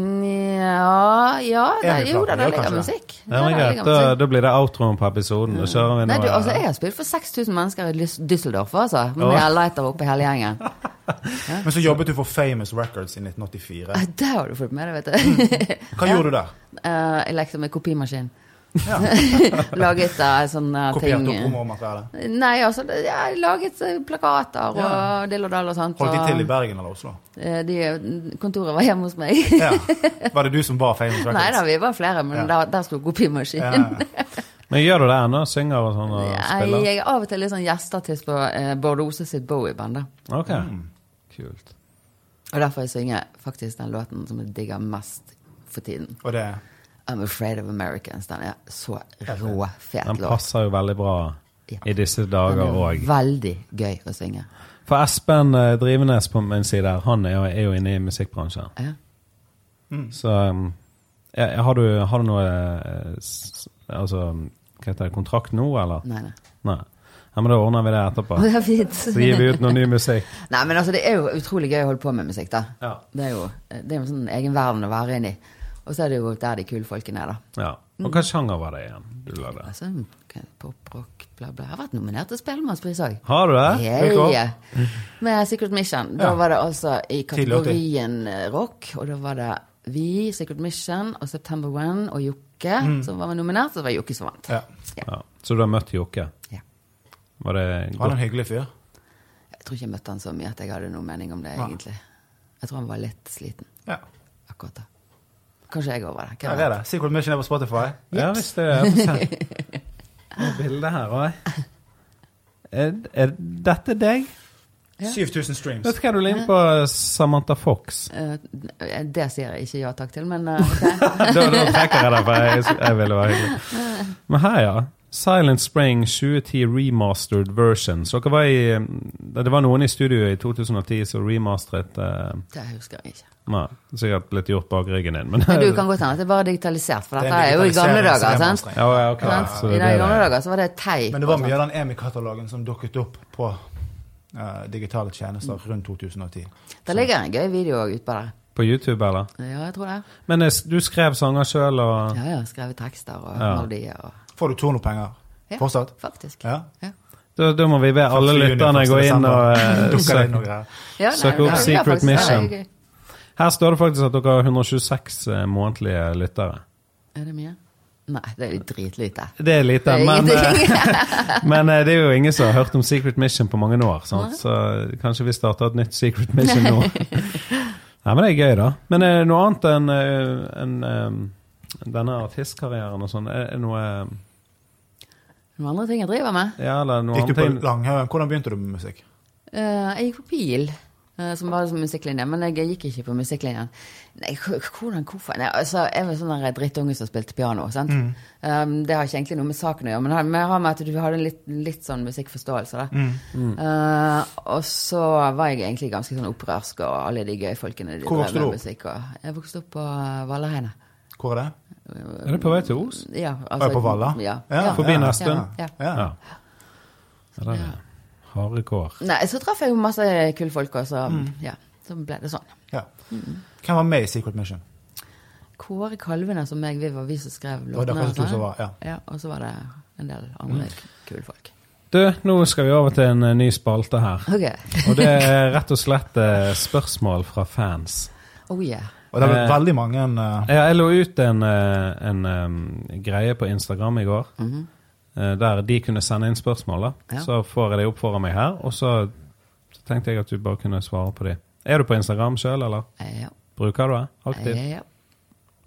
[SPEAKER 2] Nja Ja,
[SPEAKER 3] Er
[SPEAKER 2] det,
[SPEAKER 3] det
[SPEAKER 2] jo da,
[SPEAKER 3] plater?
[SPEAKER 2] der
[SPEAKER 3] Ja,
[SPEAKER 2] ligger
[SPEAKER 3] kanskje det.
[SPEAKER 2] musikk.
[SPEAKER 1] Ja,
[SPEAKER 2] Der
[SPEAKER 1] men greit.
[SPEAKER 2] ligger
[SPEAKER 1] Da,
[SPEAKER 2] musikk.
[SPEAKER 1] da blir det outroen på episoden. Da kjører vi nå.
[SPEAKER 2] Nei, du, altså, jeg har spilt for 6000 mennesker i Lys- Düsseldorf, altså. Med
[SPEAKER 1] Ja.
[SPEAKER 2] lighter oppe hele gjengen.
[SPEAKER 3] Men så jobbet du for Famous Records i 1984.
[SPEAKER 2] Eh, Der har du fått med det, vet du.
[SPEAKER 3] Mm. Hva gjorde du der?
[SPEAKER 2] Eh, jeg lekte med kopimaskin.
[SPEAKER 3] Ja.
[SPEAKER 2] Laget uh, sånne
[SPEAKER 3] Kopierte
[SPEAKER 2] ting
[SPEAKER 3] opp promomateriale?
[SPEAKER 2] Nei, altså, det- ja, jeg laget eh, plakater og
[SPEAKER 3] Ja.
[SPEAKER 2] dill og dall og sånt.
[SPEAKER 3] Holdt de
[SPEAKER 2] og,
[SPEAKER 3] til i Bergen eller Oslo?
[SPEAKER 2] eh, de- kontoret var hjemme hos meg.
[SPEAKER 3] Ja. Var det du som var Famous Records?
[SPEAKER 2] Nei da, vi var flere, men
[SPEAKER 3] Ja.
[SPEAKER 2] der, der sto kopimaskinen.
[SPEAKER 3] Ja.
[SPEAKER 1] Men gjør du det ennå? Synger og sånn og
[SPEAKER 2] Nei,
[SPEAKER 1] spiller?
[SPEAKER 2] jeg er av og til litt sånn gjesteartist på eh, Bård Ose sitt Bowie-band. da.
[SPEAKER 1] Ok, kult.
[SPEAKER 2] Og derfor jeg synger faktisk den låten som jeg digger mest for tiden.
[SPEAKER 3] Og det
[SPEAKER 2] I'm Afraid of Americans. Den er så
[SPEAKER 1] Den
[SPEAKER 2] råfet låt.
[SPEAKER 1] passer jo veldig bra
[SPEAKER 2] Ja.
[SPEAKER 1] i disse
[SPEAKER 2] Den
[SPEAKER 1] dager
[SPEAKER 2] er
[SPEAKER 1] òg.
[SPEAKER 2] veldig gøy å synge.
[SPEAKER 1] For Espen eh, Drivenes på min side, her, han er jo, er jo inne i musikkbransjen.
[SPEAKER 2] Ja.
[SPEAKER 1] Så um, ja, har, du, har du noe eh, s- Altså, hva heter det, kontrakt nå, eller?
[SPEAKER 2] Nei, nei.
[SPEAKER 1] Nei. Ja, men da ordner vi det etterpå.
[SPEAKER 2] Det er fint.
[SPEAKER 1] Så gir vi ut noe ny musikk.
[SPEAKER 2] Nei, men altså, det er jo utrolig gøy å holde på med musikk, da.
[SPEAKER 1] Ja.
[SPEAKER 2] Det er jo det er jo en sånn egen verden å være inni. Og så er det jo der de kule folkene er, da.
[SPEAKER 1] Ja. Og hva sjanger var det igjen du lagde?
[SPEAKER 2] Altså, k- pop, rock, bla, bla. Jeg har vært nominert til Spellemannspris òg.
[SPEAKER 1] Har du det? Hvilke år?
[SPEAKER 2] Yeah. Med Secret Mission. Da
[SPEAKER 3] Ja.
[SPEAKER 2] var det altså i
[SPEAKER 3] Tidlig åtti.
[SPEAKER 2] kategorien eh, rock, og da var det vi, Secret Mission og September One og Jokke som var nominert, og det var Jokke som vant.
[SPEAKER 3] Mm. ja.
[SPEAKER 1] Ja. Så du har møtt Jokke?
[SPEAKER 2] Ja.
[SPEAKER 1] Var det
[SPEAKER 3] Han er
[SPEAKER 1] godt?
[SPEAKER 3] en hyggelig fyr.
[SPEAKER 2] Jeg tror ikke jeg møtte han så mye at jeg hadde noen mening om det,
[SPEAKER 3] Nei.
[SPEAKER 2] egentlig. Jeg tror han var litt sliten
[SPEAKER 3] Ja.
[SPEAKER 2] akkurat da. Kanskje jeg over det.
[SPEAKER 3] ja,
[SPEAKER 2] Hvem
[SPEAKER 3] det er
[SPEAKER 2] vet?
[SPEAKER 3] det. Secret Mission er på Spotify.
[SPEAKER 1] Ja, hvis det er Få se. Noe bilde her òg. Er, er dette deg?
[SPEAKER 3] 7000 streams.
[SPEAKER 1] Vet du hva du ligner på Samantha Fox?
[SPEAKER 2] Eh, det sier jeg ikke ja takk til, men eh, ok.
[SPEAKER 1] Da, da trekker jeg det, for jeg, jeg ville være hyggelig. Men her, ja. Silent Spring 2010 remastered version. Så dere var i Det det var noen i studio i 2010 som remastret eh,
[SPEAKER 2] det husker jeg ikke.
[SPEAKER 1] Nei, sikkert litt gjort bak ryggen din, men
[SPEAKER 2] Men du kan godt hende at det er bare digitalisert, for
[SPEAKER 3] Det
[SPEAKER 2] dette
[SPEAKER 3] en
[SPEAKER 2] er jo i gamle
[SPEAKER 3] digitalisering
[SPEAKER 2] dager.
[SPEAKER 3] som er
[SPEAKER 2] sant?
[SPEAKER 3] anstrengt.
[SPEAKER 1] Ja, ja, ok.
[SPEAKER 2] Sant?
[SPEAKER 1] Så
[SPEAKER 2] I
[SPEAKER 1] det
[SPEAKER 2] de
[SPEAKER 1] er
[SPEAKER 2] gamle
[SPEAKER 1] det.
[SPEAKER 2] dager så var det teip.
[SPEAKER 3] Men det var
[SPEAKER 2] og
[SPEAKER 3] mye
[SPEAKER 2] sånt.
[SPEAKER 3] av den EMI-katalogen som dukket opp på eh, digitale tjenester
[SPEAKER 2] Mm.
[SPEAKER 3] rundt 2010.
[SPEAKER 2] Det ligger en gøy video òg utpå der.
[SPEAKER 1] På YouTube, eller?
[SPEAKER 2] Ja, jeg tror det.
[SPEAKER 1] Men eh, du skrev sanger sjøl, og
[SPEAKER 2] Ja, ja, skrevet tekster og
[SPEAKER 1] Ja.
[SPEAKER 2] melodier. Og...
[SPEAKER 3] Får du tornopenger
[SPEAKER 2] Ja,
[SPEAKER 3] fortsatt?
[SPEAKER 2] Faktisk.
[SPEAKER 3] Ja.
[SPEAKER 2] Ja.
[SPEAKER 1] Da, da må vi be alle
[SPEAKER 3] 1. juni,
[SPEAKER 1] lytterne
[SPEAKER 3] 1.
[SPEAKER 1] gå inn
[SPEAKER 3] desember.
[SPEAKER 1] og eh,
[SPEAKER 3] Dukker det inn noe
[SPEAKER 1] søke.
[SPEAKER 3] greier.
[SPEAKER 2] Ja,
[SPEAKER 1] Søk
[SPEAKER 2] nei,
[SPEAKER 1] opp
[SPEAKER 2] det-
[SPEAKER 1] Secret
[SPEAKER 2] ja, faktisk,
[SPEAKER 1] Mission.
[SPEAKER 2] det er gøy.
[SPEAKER 1] Her står det faktisk at dere har 126 eh, månedlige lyttere.
[SPEAKER 2] Er det mye? Nei, det er jo dritlite.
[SPEAKER 1] Det er lite,
[SPEAKER 2] Det er
[SPEAKER 1] men,
[SPEAKER 2] ingenting.
[SPEAKER 1] eh, men eh, det er jo ingen som har hørt om Secret Mission på mange år. Sant? Så eh, kanskje vi starter et nytt Secret Mission nå. Nei, men det er gøy, da. Men er det noe annet enn eh, enn, eh, denne artistkarrieren og sånn? Er det noe eh,
[SPEAKER 2] Noen andre ting jeg driver med?
[SPEAKER 1] Ja, eller noe
[SPEAKER 3] Gikk du
[SPEAKER 1] annet?
[SPEAKER 3] på
[SPEAKER 1] ting?
[SPEAKER 3] Langhaugen? Hvordan begynte du med musikk?
[SPEAKER 2] Eh, jeg gikk på PIL, eh, som var som musikklinje, men jeg gikk ikke på musikklinjen. Nei, h- hvordan, hvorfor? Nei, altså, jeg var sånn der drittunge som spilte piano, sant?
[SPEAKER 3] Mm.
[SPEAKER 2] Um, det har ikke egentlig noe med saken å gjøre, men det har- men det har med at du hadde en litt, litt sånn musikkforståelse, da.
[SPEAKER 3] Mm.
[SPEAKER 2] Eh, og så var jeg egentlig ganske sånn opprørsk, og alle de gøye folkene de
[SPEAKER 3] Hvor vokste
[SPEAKER 2] drev med
[SPEAKER 3] du opp?
[SPEAKER 2] musikk. Og jeg vokste opp på eh, Vallareinet.
[SPEAKER 3] Hvor er det?
[SPEAKER 1] Er det på vei til Os?
[SPEAKER 2] Ja,
[SPEAKER 3] Var jeg på Valla?
[SPEAKER 2] Altså, Ja.
[SPEAKER 1] Forbi
[SPEAKER 3] ja,
[SPEAKER 1] Nesttun?
[SPEAKER 3] ja,
[SPEAKER 2] Ja.
[SPEAKER 3] Ja.
[SPEAKER 1] Ja. ja der er det. Harde kår.
[SPEAKER 2] Nei, så traff jeg jo masse kule folk, og så,
[SPEAKER 3] Mm.
[SPEAKER 2] ja, så ble det sånn.
[SPEAKER 3] Ja. Hvem var med i Secret Mission?
[SPEAKER 2] Kåre Kalvene, som jeg vi var vi som skrev låtene.
[SPEAKER 3] var kanskje
[SPEAKER 2] og
[SPEAKER 3] to
[SPEAKER 2] sånn.
[SPEAKER 3] som var, Mm. ja.
[SPEAKER 2] Og så var det en del andre kule folk.
[SPEAKER 1] Du, nå skal vi over til en eh, ny spalte her.
[SPEAKER 2] Ok.
[SPEAKER 1] Og det er rett og slett eh, spørsmål fra fans.
[SPEAKER 2] Oh yeah.
[SPEAKER 3] Og det var
[SPEAKER 1] Eh,
[SPEAKER 3] veldig mange eh,
[SPEAKER 1] Ja, jeg lå ut en, eh, en eh, greie på Instagram i går,
[SPEAKER 2] Mm-hmm.
[SPEAKER 1] eh, der de kunne sende inn spørsmål. da.
[SPEAKER 2] Ja.
[SPEAKER 1] Så får jeg det opp foran meg her, og så, så tenkte jeg at du bare kunne svare på de. Er du på Instagram sjøl, eller?
[SPEAKER 2] Eh, Ja.
[SPEAKER 1] Bruker du det
[SPEAKER 2] Eh,
[SPEAKER 1] aktivt?
[SPEAKER 2] Ja.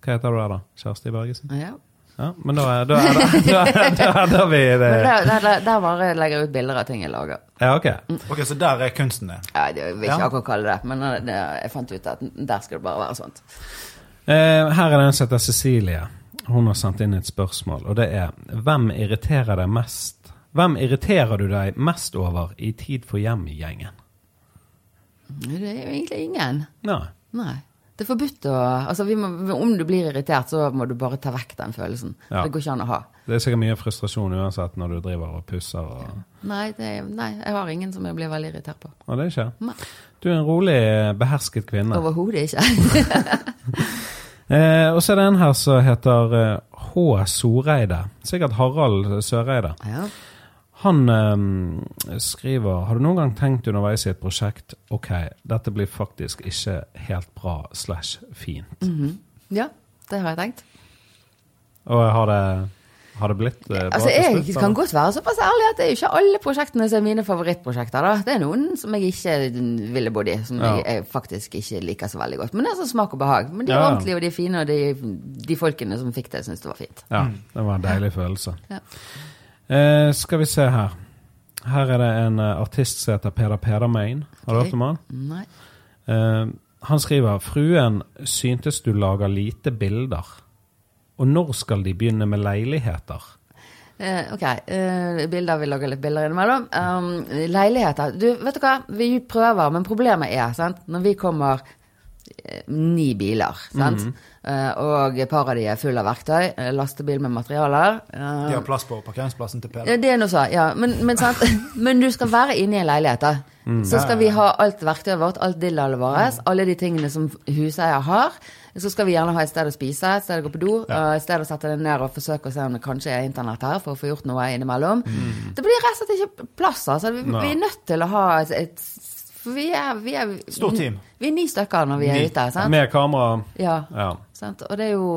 [SPEAKER 1] Hva heter du der, da? Kjersti Bergesen?
[SPEAKER 2] ja.
[SPEAKER 3] Eh.
[SPEAKER 1] Ja, men da er- da er det Da er- da er det vi det.
[SPEAKER 2] Men Der, der, der, der bare legger jeg ut bilder av ting jeg lager.
[SPEAKER 1] Ja, ok.
[SPEAKER 3] Ok, så der er kunsten din.
[SPEAKER 2] Ja, det jeg vil ikke
[SPEAKER 3] Ja.
[SPEAKER 2] akkurat kalle det men eh, det, jeg fant ut at der skal det bare være sånt.
[SPEAKER 1] Eh, Her er det en som heter Cecilie. Hun har sendt inn et spørsmål, og det er Hvem irriterer deg mest? Hvem irriterer du deg mest over i Tid for hjem-gjengen?
[SPEAKER 2] Det er jo egentlig ingen.
[SPEAKER 1] Nei.
[SPEAKER 2] Nei. Det er forbudt å Altså, vi må, om du blir irritert, så må du bare ta vekk den følelsen.
[SPEAKER 1] Ja.
[SPEAKER 2] Det går ikke an å ha.
[SPEAKER 1] Det er sikkert mye frustrasjon uansett når du driver og pusser. Og,
[SPEAKER 2] Nei, det, nei, jeg har ingen som jeg blir veldig irritert på.
[SPEAKER 1] og det skjer.
[SPEAKER 2] Nei.
[SPEAKER 1] Du er en rolig, behersket kvinne.
[SPEAKER 2] Overhodet ikke.
[SPEAKER 1] Eh, og så er det en her som heter eh, H. Soreide. Sikkert Harald Søreide.
[SPEAKER 2] ja.
[SPEAKER 1] Han eh, skriver Har du noen gang tenkt underveis i et prosjekt Ok, dette blir faktisk ikke helt bra slash fint.
[SPEAKER 2] Mm. ja, det har jeg tenkt.
[SPEAKER 1] Eh, Og har det, har det blitt eh, bra
[SPEAKER 2] Altså,
[SPEAKER 1] til
[SPEAKER 2] jeg
[SPEAKER 1] slutt?
[SPEAKER 2] kan
[SPEAKER 1] eller?
[SPEAKER 2] godt være såpass ærlig at det er jo ikke alle prosjektene som er mine favorittprosjekter. da. Det er noen som jeg ikke mm, ville bodd i, som
[SPEAKER 1] Ja.
[SPEAKER 2] jeg, jeg faktisk ikke liker så veldig godt. Men det er sånn smak og behag. Men de er
[SPEAKER 1] Ja, ja.
[SPEAKER 2] ordentlige, og de er fine, og de, de folkene som fikk det, syns det var fint.
[SPEAKER 1] Ja, det var en deilig følelse.
[SPEAKER 2] Ja.
[SPEAKER 1] Eh, skal vi se her. Her er det en eh, artist som heter Peder Pedermein. Har du
[SPEAKER 2] Ok.
[SPEAKER 1] hørt om han?
[SPEAKER 2] Nei.
[SPEAKER 1] Eh, han skriver Fruen syntes du lager lite bilder. Og når skal de begynne med leiligheter?
[SPEAKER 2] Eh, ok, eh, bilder, vi lager litt bilder innimellom. Um, leiligheter. Du, vet du hva? Vi prøver, men problemet er, sant, når vi kommer eh, ni biler, sant, Eh, og paret de er full av verktøy, eh, lastebil med materialer. eh,
[SPEAKER 3] De har plass på parkeringsplassen til Peder.
[SPEAKER 2] Ja, det er noe så, ja. Men, men, sant? men du skal være inne i en leilighet, da.
[SPEAKER 1] Mm.
[SPEAKER 2] Så skal vi ha alt verktøyet vårt, alt dildalet vårt, alle de tingene som huseier har. Så skal vi gjerne ha et sted å spise, et sted å gå på do, og et sted å sette deg ned og forsøke å se om det kanskje er internett her, for å få gjort noe innimellom.
[SPEAKER 1] Mm.
[SPEAKER 2] Det blir rett og slett ikke plass, altså. Vi, vi er nødt til å ha et, et for vi er, vi er
[SPEAKER 3] Stort team.
[SPEAKER 2] Vi er ni stykker når vi er
[SPEAKER 3] Ni.
[SPEAKER 2] ute, sant?
[SPEAKER 1] Med kamera?
[SPEAKER 2] Ja.
[SPEAKER 1] Ja.
[SPEAKER 2] Sant? Og det er jo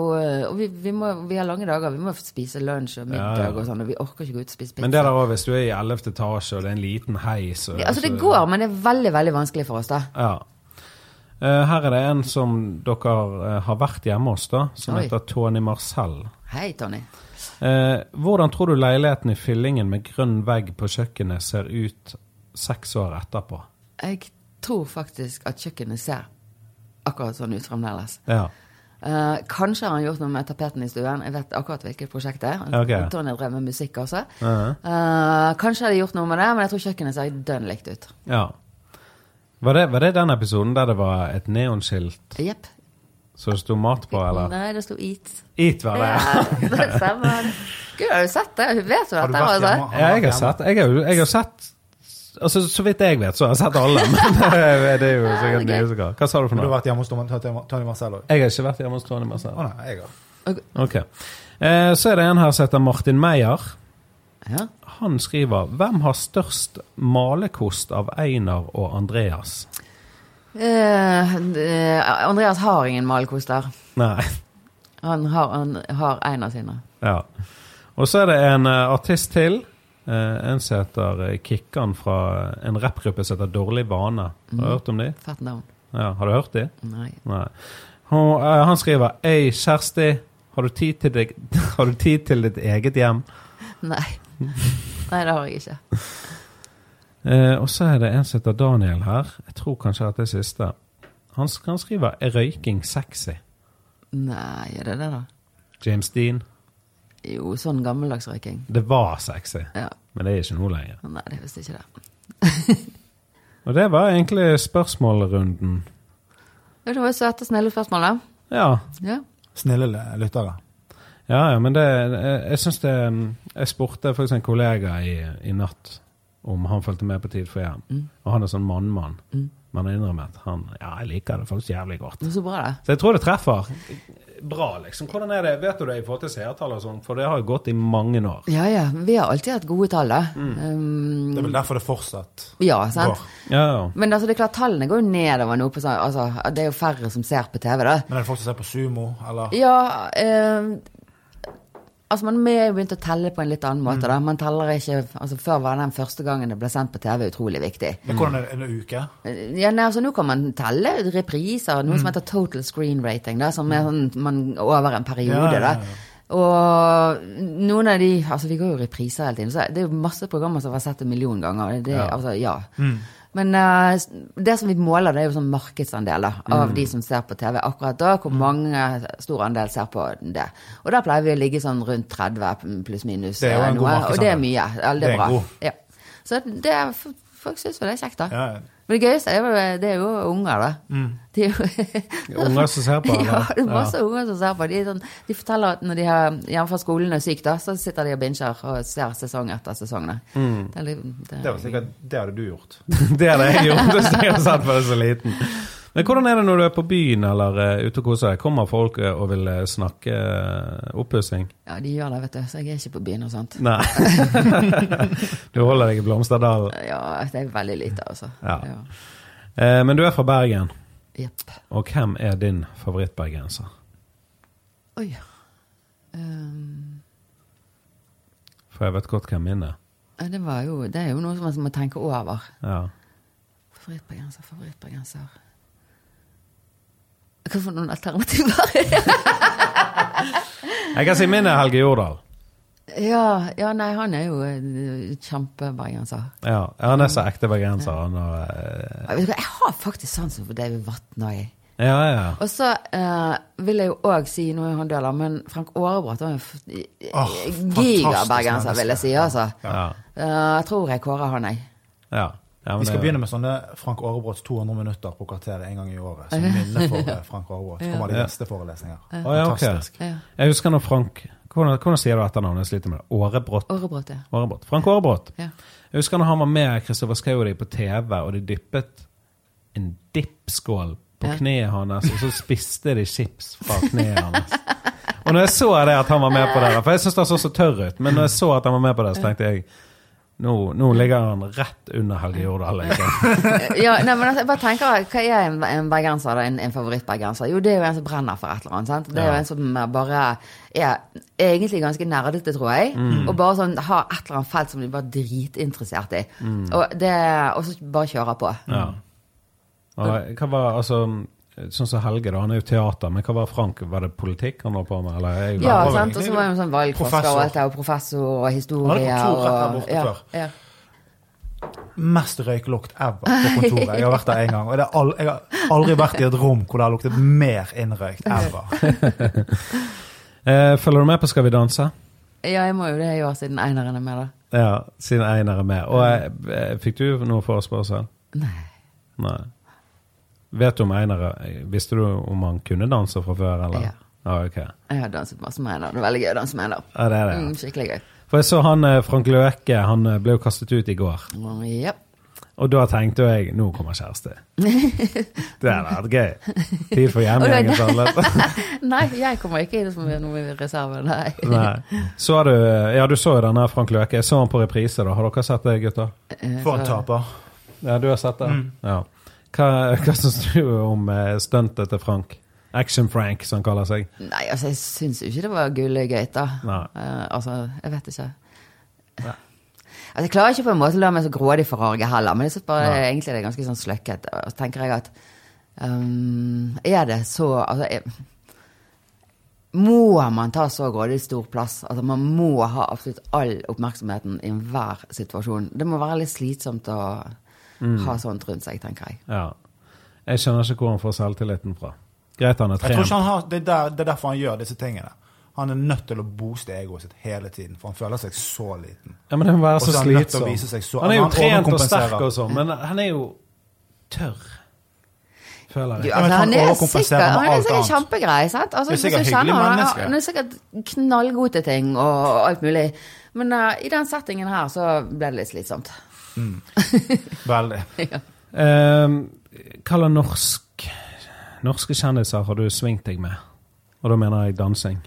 [SPEAKER 2] Og vi, vi, må, vi har lange dager. Vi må spise lunsj og middag
[SPEAKER 1] Ja, ja.
[SPEAKER 2] og sånn. Og vi orker ikke gå ut og spise pizza.
[SPEAKER 1] Men det der også, hvis du er i 11. etasje, og det er en liten heis og,
[SPEAKER 2] Ja, altså det
[SPEAKER 1] så-
[SPEAKER 2] går, men det er veldig veldig vanskelig for oss, da.
[SPEAKER 1] Ja. Eh, her er det en som dere eh, har vært hjemme hos, da, som
[SPEAKER 2] Oi.
[SPEAKER 1] heter Tony Marcel.
[SPEAKER 2] Hei, Tony.
[SPEAKER 1] Eh, hvordan tror du leiligheten i fyllingen med grønn vegg på kjøkkenet ser ut seks år etterpå?
[SPEAKER 2] Jeg tror faktisk at kjøkkenet ser akkurat sånn ut fremdeles.
[SPEAKER 1] Ja.
[SPEAKER 2] Eh, kanskje har han gjort noe med tapeten i stuen. Jeg vet akkurat hvilket prosjekt det er.
[SPEAKER 1] Ok.
[SPEAKER 2] Tony drev med musikk også.
[SPEAKER 1] Mhm.
[SPEAKER 2] Eh, kanskje har de gjort noe med det, men jeg tror kjøkkenet ser dønn likt ut.
[SPEAKER 1] ja. Var, det, var det den episoden der det var et neonskilt
[SPEAKER 2] Jepp.
[SPEAKER 1] som det sto mat på, eller?
[SPEAKER 2] Nei, det sto Eat.
[SPEAKER 1] Eat, var det?
[SPEAKER 2] Ja, det stemmer. Gud, har du sett det? Vet du dette?
[SPEAKER 3] Har du vært
[SPEAKER 2] altså?
[SPEAKER 3] hjemme?
[SPEAKER 1] Ja, jeg har sett. Jeg har, jeg har sett Altså, Så vidt jeg vet, så har jeg sett alle. Men eh, det er jo sikkert nye som har. Hva sa du for
[SPEAKER 3] Du har
[SPEAKER 1] noe?
[SPEAKER 3] vært hjemme hos Tony Tony Marcel òg?
[SPEAKER 1] Jeg har ikke vært hjemme hos Tony Marcel.
[SPEAKER 3] Å nei, jeg har.
[SPEAKER 2] Og-
[SPEAKER 1] Ok. Eh, så er det en her som heter Martin Meyer.
[SPEAKER 2] Ja.
[SPEAKER 1] Han skriver 'Hvem har størst malerkost av Einar og Andreas'?
[SPEAKER 2] Eh, eh, Andreas har ingen malkoster.
[SPEAKER 1] Nei.
[SPEAKER 2] Han har, han har en av sine.
[SPEAKER 1] Ja. Og så er det en eh, artist til. Eh, en som heter eh, Kikkan fra en rappgruppe som heter Dårlig vane. Har du hørt om de?
[SPEAKER 2] Fat navn.
[SPEAKER 1] Ja, har du hørt de?
[SPEAKER 2] Nei.
[SPEAKER 1] Nei. Hun, eh, han skriver Ei, Kjersti, har du, tid til deg, har du tid til ditt eget hjem?
[SPEAKER 2] Nei. Nei, det har jeg ikke.
[SPEAKER 1] Eh, og så er det en som heter Daniel her. Jeg tror kanskje at det er siste. Han, sk- han skriver 'Er røyking sexy'?
[SPEAKER 2] Nei, er det det, da?
[SPEAKER 1] James Dean.
[SPEAKER 2] Jo, sånn gammeldags røyking.
[SPEAKER 1] Det var sexy,
[SPEAKER 2] Ja.
[SPEAKER 1] men det er ikke noe lenger.
[SPEAKER 2] Nei, det er visst ikke det.
[SPEAKER 1] Og det var egentlig spørsmålrunden.
[SPEAKER 2] Ja, Det var jo søte, snille spørsmål, da.
[SPEAKER 1] Ja.
[SPEAKER 2] Ja.
[SPEAKER 3] Snille l- lyttere.
[SPEAKER 1] Ja, ja, men det, jeg, jeg synes det um, Jeg spurte faktisk en kollega i, i natt om han fulgte med på Tid for hjem. Og han er sånn mannmann. Men han innrømmet han ja, jeg liker det faktisk jævlig godt.
[SPEAKER 2] Det var så bra, det.
[SPEAKER 1] Så jeg tror det treffer bra, liksom. Hvordan er det, Vet du det i forhold til seertall og sånn? For det har jo gått i mange år.
[SPEAKER 2] Ja ja. Vi har alltid hatt gode tall, da. Um,
[SPEAKER 3] Det er vel derfor det fortsatt
[SPEAKER 2] ja, sant?
[SPEAKER 3] går.
[SPEAKER 1] Ja, ja.
[SPEAKER 2] Men altså, det er klart, tallene går jo nedover nå. På sånn, altså, det er jo færre som ser på TV, da.
[SPEAKER 3] Men er det folk som ser på sumo, eller?
[SPEAKER 2] Ja eh, Altså, man har jo begynt å telle på en litt annen måte. da. Man teller ikke, altså Før var den første gangen det ble sendt på TV, utrolig viktig.
[SPEAKER 3] Men hvordan er det en uke?
[SPEAKER 2] Eh, Ja, nei, altså Nå kan man telle repriser, noe
[SPEAKER 3] Mm.
[SPEAKER 2] som heter total screen rating, da, som er sånn man, over en
[SPEAKER 3] Ja,
[SPEAKER 2] periode.
[SPEAKER 3] ja, ja.
[SPEAKER 2] da. Og noen av de Altså, vi går jo repriser hele tiden. Så det er jo masse programmer som har sett en million ganger. Det,
[SPEAKER 1] Ja.
[SPEAKER 2] Altså, ja.
[SPEAKER 3] Mm.
[SPEAKER 2] Men eh, s- det som vi måler, det er jo sånn markedsandeler av
[SPEAKER 3] Mm.
[SPEAKER 2] de som ser på TV akkurat da. Hvor mange eh, stor andel ser på det. Og der pleier vi å ligge sånn rundt 30 pluss minus.
[SPEAKER 3] Det er jo
[SPEAKER 2] eh,
[SPEAKER 3] en
[SPEAKER 2] noe,
[SPEAKER 3] god
[SPEAKER 2] Og det er
[SPEAKER 3] markedsandel.
[SPEAKER 2] mye. Ja,
[SPEAKER 3] Det
[SPEAKER 2] det
[SPEAKER 3] er
[SPEAKER 2] er bra.
[SPEAKER 3] god.
[SPEAKER 2] Ja. Så det, er- f- folk syns jo det er kjekt, da.
[SPEAKER 3] Ja, ja.
[SPEAKER 2] Men det gøyeste er jo, det er jo unger, da. De, er jo-
[SPEAKER 1] Mm. Unger som ser på, eller?
[SPEAKER 2] Ja, det er masse unger som ser på. De, er sånn, de forteller at når de har hjemme fra skolen og er syk, da, så sitter de og binger og ser sesong etter sesong. da.
[SPEAKER 1] Mm.
[SPEAKER 2] Det, er litt- det,
[SPEAKER 3] Det var sikkert det hadde du gjort.
[SPEAKER 1] Det er det jeg gjorde så jeg har sett på det så liten. Men hvordan er det når du er på byen eller eh, ute og koser deg? Kommer folk eh, og vil eh, snakke uh, oppussing?
[SPEAKER 2] ja, de gjør det, vet du. Så jeg er ikke på byen og sånt.
[SPEAKER 1] Nei. du holder deg i Blomsterdalen.
[SPEAKER 2] Ja, det er veldig lite, altså.
[SPEAKER 1] Ja. Eh, men du er fra Bergen,
[SPEAKER 2] Jepp.
[SPEAKER 1] og hvem er din favorittbergenser?
[SPEAKER 2] Oi. Ehm,
[SPEAKER 1] For jeg vet godt hvem min er.
[SPEAKER 2] ja, det, var jo, det er jo noe som man må tenke over.
[SPEAKER 1] Ja.
[SPEAKER 2] Favorittbergenser, favorittbergenser Hva for noen alternativer?
[SPEAKER 1] Jeg kan si min er Helge Jordal.
[SPEAKER 2] Ja, ja, nei, han er jo eh, kjempebergenser.
[SPEAKER 1] Ja, han er så ekte bergenser. Han og, eh,
[SPEAKER 2] Jeg vet ikke, jeg har faktisk sansen for David Vatnøy.
[SPEAKER 1] ja, ja.
[SPEAKER 2] Og så eh, vil jeg jo òg si, nå er han død, da, men Frank Aarebrot var en f-
[SPEAKER 3] Åh, fantastisk
[SPEAKER 2] gigabergenser,
[SPEAKER 3] menneske.
[SPEAKER 2] vil jeg si. altså.
[SPEAKER 1] Ja.
[SPEAKER 2] Eh, jeg tror jeg kårer han, jeg.
[SPEAKER 1] ja. ja men
[SPEAKER 3] Vi skal
[SPEAKER 1] det-
[SPEAKER 3] begynne med sånne Frank Aarebrots 200 minutter på kvarteret en gang i året. Som minne for eh, Frank Aarebrot. Så kommer de neste forelesninger.
[SPEAKER 1] Å, ja, ok.
[SPEAKER 3] Fantastisk.
[SPEAKER 2] Ja.
[SPEAKER 1] Jeg husker når Frank Hvordan, hvordan sier du etternavnet? Jeg sliter med det. Årebrott.
[SPEAKER 2] Aarebrot, ja.
[SPEAKER 1] Årebrott. Frank Årebrott.
[SPEAKER 2] ja.
[SPEAKER 1] Jeg husker når han var med Kristoffer Schou på TV, og de dyppet en dippskål på
[SPEAKER 2] Ja.
[SPEAKER 1] kneet hans, og så spiste de chips fra kneet hans. Og når jeg så det at han var med på det, da, for jeg syns han så så tørr ut, men når jeg så at han var med på det, så tenkte jeg nå, nå ligger han rett under Helge Jordal. Liksom.
[SPEAKER 2] ja nei, men altså, jeg bare tenker, Hva er en, en bergenser, da? En, en favorittbergenser? Jo, det er jo en som brenner for et eller annet. sant? Det
[SPEAKER 1] Ja.
[SPEAKER 2] er jo en som bare er egentlig ganske nerdete, tror jeg.
[SPEAKER 1] Mm.
[SPEAKER 2] Og bare sånn har et eller annet felt som de bare er dritinteressert i. Og, det, og så bare kjører på.
[SPEAKER 1] Mm. Ja. Og hva var, altså, sånn som Helge, da, han er jo teater, men hva var Frank? Var det politikk han holdt på med? Eller er jo
[SPEAKER 2] Ja,
[SPEAKER 3] var vel
[SPEAKER 2] sant? og
[SPEAKER 3] egentlig
[SPEAKER 2] så var hun sånn valgforsker
[SPEAKER 3] professor.
[SPEAKER 2] og alt det, og professor og historie.
[SPEAKER 3] Han hadde kontor rett der
[SPEAKER 2] og-
[SPEAKER 3] borte
[SPEAKER 2] ja,
[SPEAKER 3] før.
[SPEAKER 2] Ja.
[SPEAKER 3] Mest røyklukt ever på kontoret. Jeg har vært der en gang. Og det er all, jeg har aldri vært i et rom hvor det har luktet mer innrøykt ever.
[SPEAKER 1] Eh, følger du med på Skal vi danse?
[SPEAKER 2] ja, jeg må jo det i år siden Einaren er med, da.
[SPEAKER 1] Ja, siden Einar er med. Og eh, eh, fikk du noe forespørsel?
[SPEAKER 2] Nei.
[SPEAKER 1] Nei. Vet du om Einar eh, Visste du om han kunne danse fra før, eller?
[SPEAKER 2] Ja.
[SPEAKER 1] ok.
[SPEAKER 2] Jeg har danset masse med Einar. Det er veldig gøy å danse med Einar.
[SPEAKER 1] Ja, det er det.
[SPEAKER 2] Mm,
[SPEAKER 1] ja.
[SPEAKER 2] skikkelig gøy.
[SPEAKER 1] For jeg så han eh, Frank Løke, han eh, ble jo kastet ut i går.
[SPEAKER 2] Mm, Ja.
[SPEAKER 1] Og da tenkte jeg nå kommer kjæreste. Det hadde vært gøy. Tid for
[SPEAKER 2] Og
[SPEAKER 1] hjemgjengen
[SPEAKER 2] det-
[SPEAKER 1] samlet.
[SPEAKER 2] Nei, jeg kommer ikke inn som noen reserve, nei.
[SPEAKER 1] Nei. Så har du, eh, ja, du så jo denne Frank Løke. Jeg så han på reprise. da. Har dere sett det, gutter?
[SPEAKER 2] Eh,
[SPEAKER 3] For
[SPEAKER 2] så-
[SPEAKER 3] en taper.
[SPEAKER 1] Ja, du har sett det?
[SPEAKER 3] Mm.
[SPEAKER 1] Ja. Hva, hva syns du om eh, stuntet til Frank? Action-Frank, som han kaller seg.
[SPEAKER 2] Nei, altså, jeg syns jo ikke det var gullegøy, da.
[SPEAKER 1] Nei.
[SPEAKER 2] Eh, altså, jeg vet ikke.
[SPEAKER 1] Nei.
[SPEAKER 2] Altså, jeg klarer ikke på en måte å la meg så grådig forarge heller, men jeg synes bare
[SPEAKER 1] Nei.
[SPEAKER 2] egentlig det er ganske sånn sløkket. Og så tenker jeg at ehm, Er det så Altså, jeg, må man ta så grådig stor plass? Altså, man må ha absolutt all oppmerksomheten i enhver situasjon. Det må være litt slitsomt å ha sånt rundt seg, tenker jeg.
[SPEAKER 1] Ja. Jeg skjønner ikke hvor han får selvtilliten fra. Greit han er
[SPEAKER 3] Jeg tror ikke
[SPEAKER 1] trent.
[SPEAKER 3] han har, det, er der, det er derfor han gjør disse tingene. Han er nødt til å booste egoet sitt hele tiden, for han føler seg så liten.
[SPEAKER 1] Ja, men han må være
[SPEAKER 3] Og så
[SPEAKER 1] så
[SPEAKER 3] er han nødt til å
[SPEAKER 1] slitsom.
[SPEAKER 3] vise seg så-
[SPEAKER 1] han er jo
[SPEAKER 3] han
[SPEAKER 1] trent og
[SPEAKER 3] overkompenserer.
[SPEAKER 1] sterk og sånn, men han er jo tørr, føler
[SPEAKER 2] Du,
[SPEAKER 1] jeg.
[SPEAKER 3] Ja, men
[SPEAKER 2] altså,
[SPEAKER 3] han
[SPEAKER 2] han er
[SPEAKER 3] overkompenserer
[SPEAKER 2] sikkert,
[SPEAKER 3] med
[SPEAKER 2] han er
[SPEAKER 3] alt
[SPEAKER 2] sikkert
[SPEAKER 3] annet.
[SPEAKER 2] kjempegrei. sant? Altså,
[SPEAKER 3] Det er sikkert
[SPEAKER 2] hvis du kjenner
[SPEAKER 3] hyggelig
[SPEAKER 2] han,
[SPEAKER 3] menneske.
[SPEAKER 2] Han er sikkert knallgod til ting og alt mulig. Men eh, i den settingen her så ble det litt slitsomt.
[SPEAKER 3] Veldig.
[SPEAKER 1] Ehm, Hva slags norsk, norske kjendiser har du svingt deg med? Og da mener jeg dansing.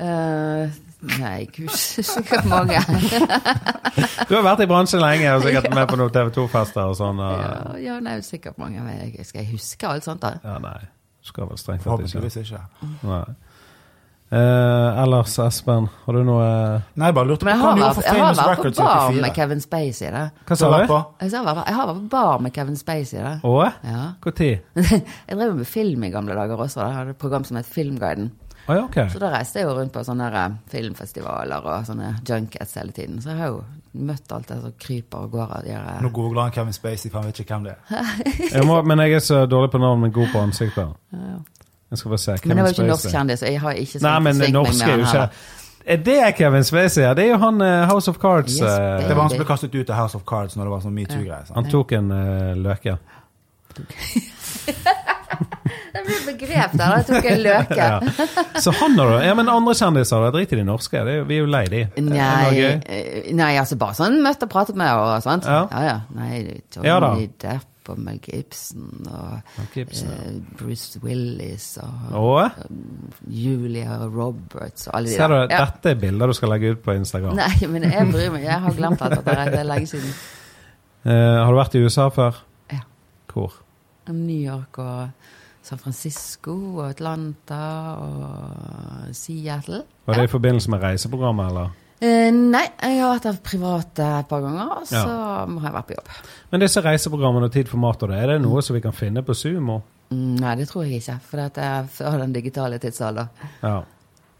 [SPEAKER 2] Eh, nei, gud, sikkert mange.
[SPEAKER 1] Du har vært i bransjen lenge og sikkert med på noen TV 2-fester og sånn. Og,
[SPEAKER 2] ja, ja, nei, sikkert mange. Men jeg- Skal jeg huske alt sånt, da?
[SPEAKER 1] Ja, nei. Skal vel strengt tatt ikke.
[SPEAKER 3] Forhåpentligvis ikke.
[SPEAKER 1] Nei. Eh, ellers, Espen, har du noe
[SPEAKER 3] Nei, jeg bare lurte på
[SPEAKER 2] Men jeg
[SPEAKER 3] hva
[SPEAKER 2] har
[SPEAKER 3] han gjorde
[SPEAKER 2] vært,
[SPEAKER 3] for
[SPEAKER 2] jeg har
[SPEAKER 3] Famous
[SPEAKER 2] vært på
[SPEAKER 3] Records
[SPEAKER 2] bar med
[SPEAKER 3] 74.
[SPEAKER 2] Kevin Spacey. da.
[SPEAKER 1] Hva
[SPEAKER 3] Så
[SPEAKER 1] sa
[SPEAKER 3] hva
[SPEAKER 1] du?
[SPEAKER 3] på?
[SPEAKER 2] Jeg sa jeg var- jeg har vært på bar med Kevin Spacey. da.
[SPEAKER 1] Å?
[SPEAKER 2] Ja.
[SPEAKER 1] Når?
[SPEAKER 2] Jeg drev med film i gamle dager også. da. Jeg hadde et program som het Filmguiden.
[SPEAKER 1] Å ja, ok.
[SPEAKER 2] Så da reiste jeg jo rundt på sånne her, eh, filmfestivaler og sånne junkets hele tiden. Så jeg har jo møtt alt det som kryper og går av de her eh.
[SPEAKER 3] Nå googler han Kevin Spacey, for han vet ikke hvem det er.
[SPEAKER 1] Jeg må, men jeg er så dårlig på navn, men god på ansikter.
[SPEAKER 2] ja.
[SPEAKER 1] Jeg skal bare se. Kevin
[SPEAKER 2] Men det var jo ikke norsk
[SPEAKER 1] Spacey.
[SPEAKER 2] kjendis, og jeg har ikke
[SPEAKER 1] Nei, men
[SPEAKER 2] svingt meg
[SPEAKER 1] norsk
[SPEAKER 2] med
[SPEAKER 1] er jo
[SPEAKER 2] han
[SPEAKER 1] ikke
[SPEAKER 2] heller.
[SPEAKER 1] Er det Kevin Spacey? Ja, det er jo han eh, House of Cards.
[SPEAKER 2] Yes,
[SPEAKER 1] eh,
[SPEAKER 2] baby.
[SPEAKER 3] Det var han som ble kastet ut av House of Cards når det var sånn metoo-greier. sant?
[SPEAKER 1] han tok en eh, løke.
[SPEAKER 2] Det ble et begrep der, da tok jeg løke.
[SPEAKER 1] Ja. Så han har du. Ja, men andre kjendiser, da. Drit i de norske. Det er, jo- vi er jo lei de. Er det noe
[SPEAKER 2] Nei,
[SPEAKER 1] gøy?
[SPEAKER 2] eh, nei, altså bare sånn møtt og pratet med og sånt.
[SPEAKER 1] Ja.
[SPEAKER 2] ja. ja. Nei, Johnny
[SPEAKER 1] Ja da.
[SPEAKER 2] Depp og Mel Gibson og
[SPEAKER 1] Mel Gibson, ja.
[SPEAKER 2] eh, Bruce Willis og
[SPEAKER 1] Å?
[SPEAKER 2] Julia Roberts og alle de
[SPEAKER 1] Ser du,
[SPEAKER 2] der. Ja.
[SPEAKER 1] Dette er bilder du skal legge ut på Instagram.
[SPEAKER 2] Nei, men jeg bryr meg. Jeg har glemt alt dette her. Det er lenge siden.
[SPEAKER 1] Eh, har du vært i USA før?
[SPEAKER 2] Ja.
[SPEAKER 1] Hvor?
[SPEAKER 2] New York og San Francisco og Atlanta og Seattle.
[SPEAKER 1] Var det i forbindelse med reiseprogrammet, eller?
[SPEAKER 2] Eh, nei, jeg har vært der privat eh, et par ganger, og så
[SPEAKER 1] Ja.
[SPEAKER 2] har jeg vært på jobb.
[SPEAKER 1] Men disse reiseprogrammene og Tid for mat og det, er det noe som vi kan finne på Sumo?
[SPEAKER 2] Mm, Nei, det tror jeg ikke, for det er før den digitale tidsalder.
[SPEAKER 1] Ja.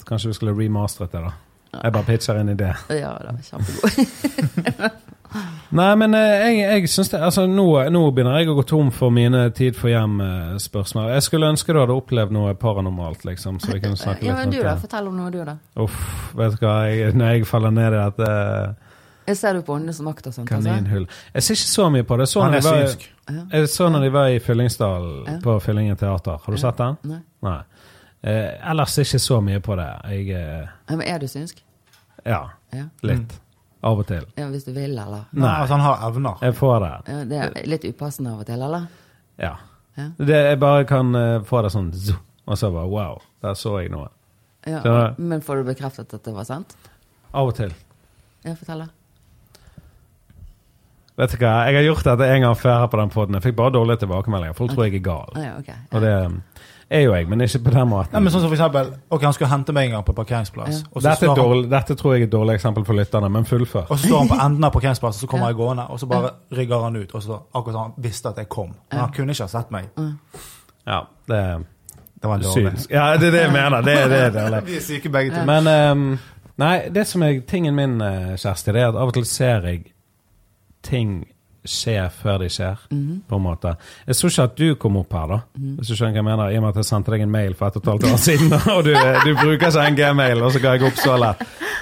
[SPEAKER 1] Kanskje vi skulle remastret det, da. Jeg bare pitcher inn i det.
[SPEAKER 2] Ja, det var kjempegod.
[SPEAKER 1] Nei, men eh, jeg, jeg synes det Altså, nå, nå begynner jeg å gå tom for mine Tid for hjem-spørsmål. Jeg skulle ønske du hadde opplevd noe paranormalt, liksom, så vi kunne snakke
[SPEAKER 2] Ja,
[SPEAKER 1] litt
[SPEAKER 2] men du da,
[SPEAKER 1] rundt det.
[SPEAKER 2] fortell om noe du da.
[SPEAKER 1] Uff, vet du hva. Jeg, når jeg faller ned i dette eh,
[SPEAKER 2] Jeg ser du på åndenes makt og sånt. Altså.
[SPEAKER 1] kaninhull Jeg ser ikke så mye på det. Jeg Så
[SPEAKER 3] Han
[SPEAKER 1] når
[SPEAKER 3] er
[SPEAKER 1] de var-
[SPEAKER 3] synsk.
[SPEAKER 2] Ja.
[SPEAKER 1] Jeg så når de var i Fyllingsdalen
[SPEAKER 2] Ja.
[SPEAKER 1] på Fyllingen teater. Har du sett den?
[SPEAKER 2] Nei.
[SPEAKER 1] Nei. Eh, ellers ikke så mye på det. Jeg eh,
[SPEAKER 2] Ja, Men er du synsk?
[SPEAKER 1] Ja,
[SPEAKER 2] Ja.
[SPEAKER 1] litt. Av og til.
[SPEAKER 2] ja, hvis du vil, eller?
[SPEAKER 1] Nei.
[SPEAKER 3] Altså, han har evner.
[SPEAKER 1] Jeg får det.
[SPEAKER 2] Ja, det er litt upassende av og til, eller?
[SPEAKER 1] Ja.
[SPEAKER 2] Ja.
[SPEAKER 1] Det, jeg bare kan eh, få det sånn zo, og så bare wow, der så jeg noe.
[SPEAKER 2] Ja,
[SPEAKER 1] Det er-
[SPEAKER 2] men får du bekreftet at det var sant?
[SPEAKER 1] Av og til.
[SPEAKER 2] Ja, fortell da.
[SPEAKER 1] Vet du hva, jeg har gjort dette en gang før her på den podden. Jeg fikk bare dårlige tilbakemeldinger. Folk tror jeg er gal.
[SPEAKER 2] Ah, ja, ok.
[SPEAKER 1] Og det eh, er jo jeg, men ikke på den måten.
[SPEAKER 3] Nei, men sånn som for eksempel, ok, Han skulle hente meg en gang på parkeringsplass.
[SPEAKER 2] Ja.
[SPEAKER 3] Og så,
[SPEAKER 1] dette,
[SPEAKER 3] står
[SPEAKER 1] er
[SPEAKER 3] han,
[SPEAKER 1] dårlig, dette tror jeg er et dårlig eksempel for lytterne, men fullfør.
[SPEAKER 3] og så står han på enden av parkeringsplassen, så kommer jeg gående, og så bare rygger han ut. og så Akkurat som han visste at jeg kom. Men han kunne ikke ha sett meg.
[SPEAKER 1] Ja, det er
[SPEAKER 3] Det var dårlig.
[SPEAKER 1] synsk. Ja, det er det jeg mener. Det er det er dårlig.
[SPEAKER 3] Vi er syke begge to.
[SPEAKER 1] Men ehm, Nei, det som er tingen min, eh, Kjersti, det er at av og til ser jeg ting skje før de skjer, på en måte. Jeg så ikke at du kom opp her, da, hvis du skjønner hva jeg mener, i og med at jeg sendte deg en mail for et og et halvt år siden, og du, eh, du bruker ikke en gmail, og så ga jeg opp så lett.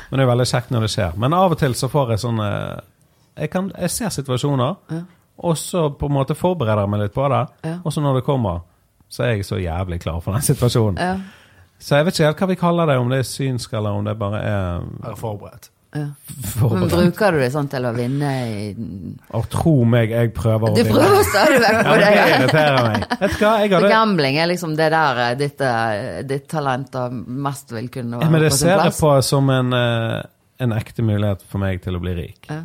[SPEAKER 1] Men det er veldig kjekt når det skjer. Men av og til så får jeg sånn eh, jeg, kan, jeg ser situasjoner, og så på en måte forbereder jeg meg litt på det,
[SPEAKER 2] Ja.
[SPEAKER 1] og så når det kommer, så er jeg så jævlig klar for den situasjonen.
[SPEAKER 2] Ja.
[SPEAKER 1] Så jeg vet ikke helt hva vi kaller det, om det er eh, synsk eller om det bare er
[SPEAKER 3] Jeg er forberedt.
[SPEAKER 2] Ja. Men
[SPEAKER 1] forberedt.
[SPEAKER 2] bruker du det sånn til å vinne i
[SPEAKER 1] Og tro meg, jeg prøver å
[SPEAKER 2] Du prøver stadig vekk
[SPEAKER 1] Ja,
[SPEAKER 2] på
[SPEAKER 1] men
[SPEAKER 2] det!
[SPEAKER 1] det
[SPEAKER 2] Ja.
[SPEAKER 1] irriterer meg. Vet du hva, jeg
[SPEAKER 2] For
[SPEAKER 1] hadde
[SPEAKER 2] gambling er liksom det der eh, ditt, eh, ditt talent og mest vil
[SPEAKER 1] Ja,
[SPEAKER 2] kunne være
[SPEAKER 1] Men det
[SPEAKER 2] på sin
[SPEAKER 1] ser jeg
[SPEAKER 2] plass.
[SPEAKER 1] på som en, eh, en ekte mulighet for meg til å bli rik.
[SPEAKER 2] Ja.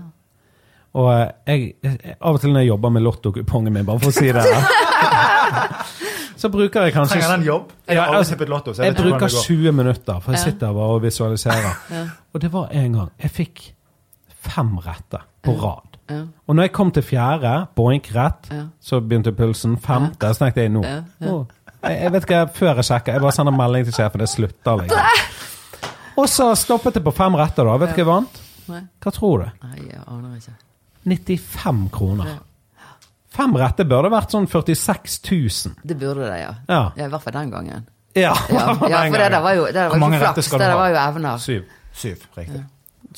[SPEAKER 1] Og eh, jeg, jeg, av og til når jeg jobber med lottokupongen min, bare for å si det her, så bruker jeg kanskje
[SPEAKER 3] Trenger den jobb? Jeg
[SPEAKER 1] Ja,
[SPEAKER 3] har aldri
[SPEAKER 1] altså,
[SPEAKER 3] tippet lotto. så
[SPEAKER 1] Jeg
[SPEAKER 3] vet ikke hvordan
[SPEAKER 1] bruker
[SPEAKER 3] det går.
[SPEAKER 1] 20 minutter, for jeg sitter bare og visualiserer. Og det var en gang jeg fikk fem retter på rad.
[SPEAKER 2] Ja.
[SPEAKER 1] Og når jeg kom til fjerde, boink rett,
[SPEAKER 2] Ja.
[SPEAKER 1] så begynte pulsen. Fem, der snakket jeg nå.
[SPEAKER 2] Ja,
[SPEAKER 1] Nå, Jeg, jeg vet ikke, jeg- før jeg sjekker, jeg bare sender melding til sjefen, det slutter liksom. Og så stoppet jeg på fem retter da. Vet du hva jeg vant?
[SPEAKER 2] Nei.
[SPEAKER 1] Hva tror du?
[SPEAKER 2] Nei, jeg aner ikke.
[SPEAKER 1] 95 kroner.
[SPEAKER 2] Ja.
[SPEAKER 1] Fem retter burde vært sånn 46 000.
[SPEAKER 2] Det burde det, ja.
[SPEAKER 1] Ja.
[SPEAKER 2] I hvert fall den gangen.
[SPEAKER 1] Ja,
[SPEAKER 2] Ja, ja for
[SPEAKER 1] den
[SPEAKER 2] det der
[SPEAKER 1] gangen.
[SPEAKER 2] var jo, det der
[SPEAKER 3] Hvor
[SPEAKER 2] var
[SPEAKER 3] mange
[SPEAKER 2] ikke
[SPEAKER 3] retter
[SPEAKER 2] flaks,
[SPEAKER 3] skal
[SPEAKER 2] det
[SPEAKER 3] du
[SPEAKER 2] der
[SPEAKER 3] ha?
[SPEAKER 2] var jo evner.
[SPEAKER 1] Syv.
[SPEAKER 3] Syv, riktig.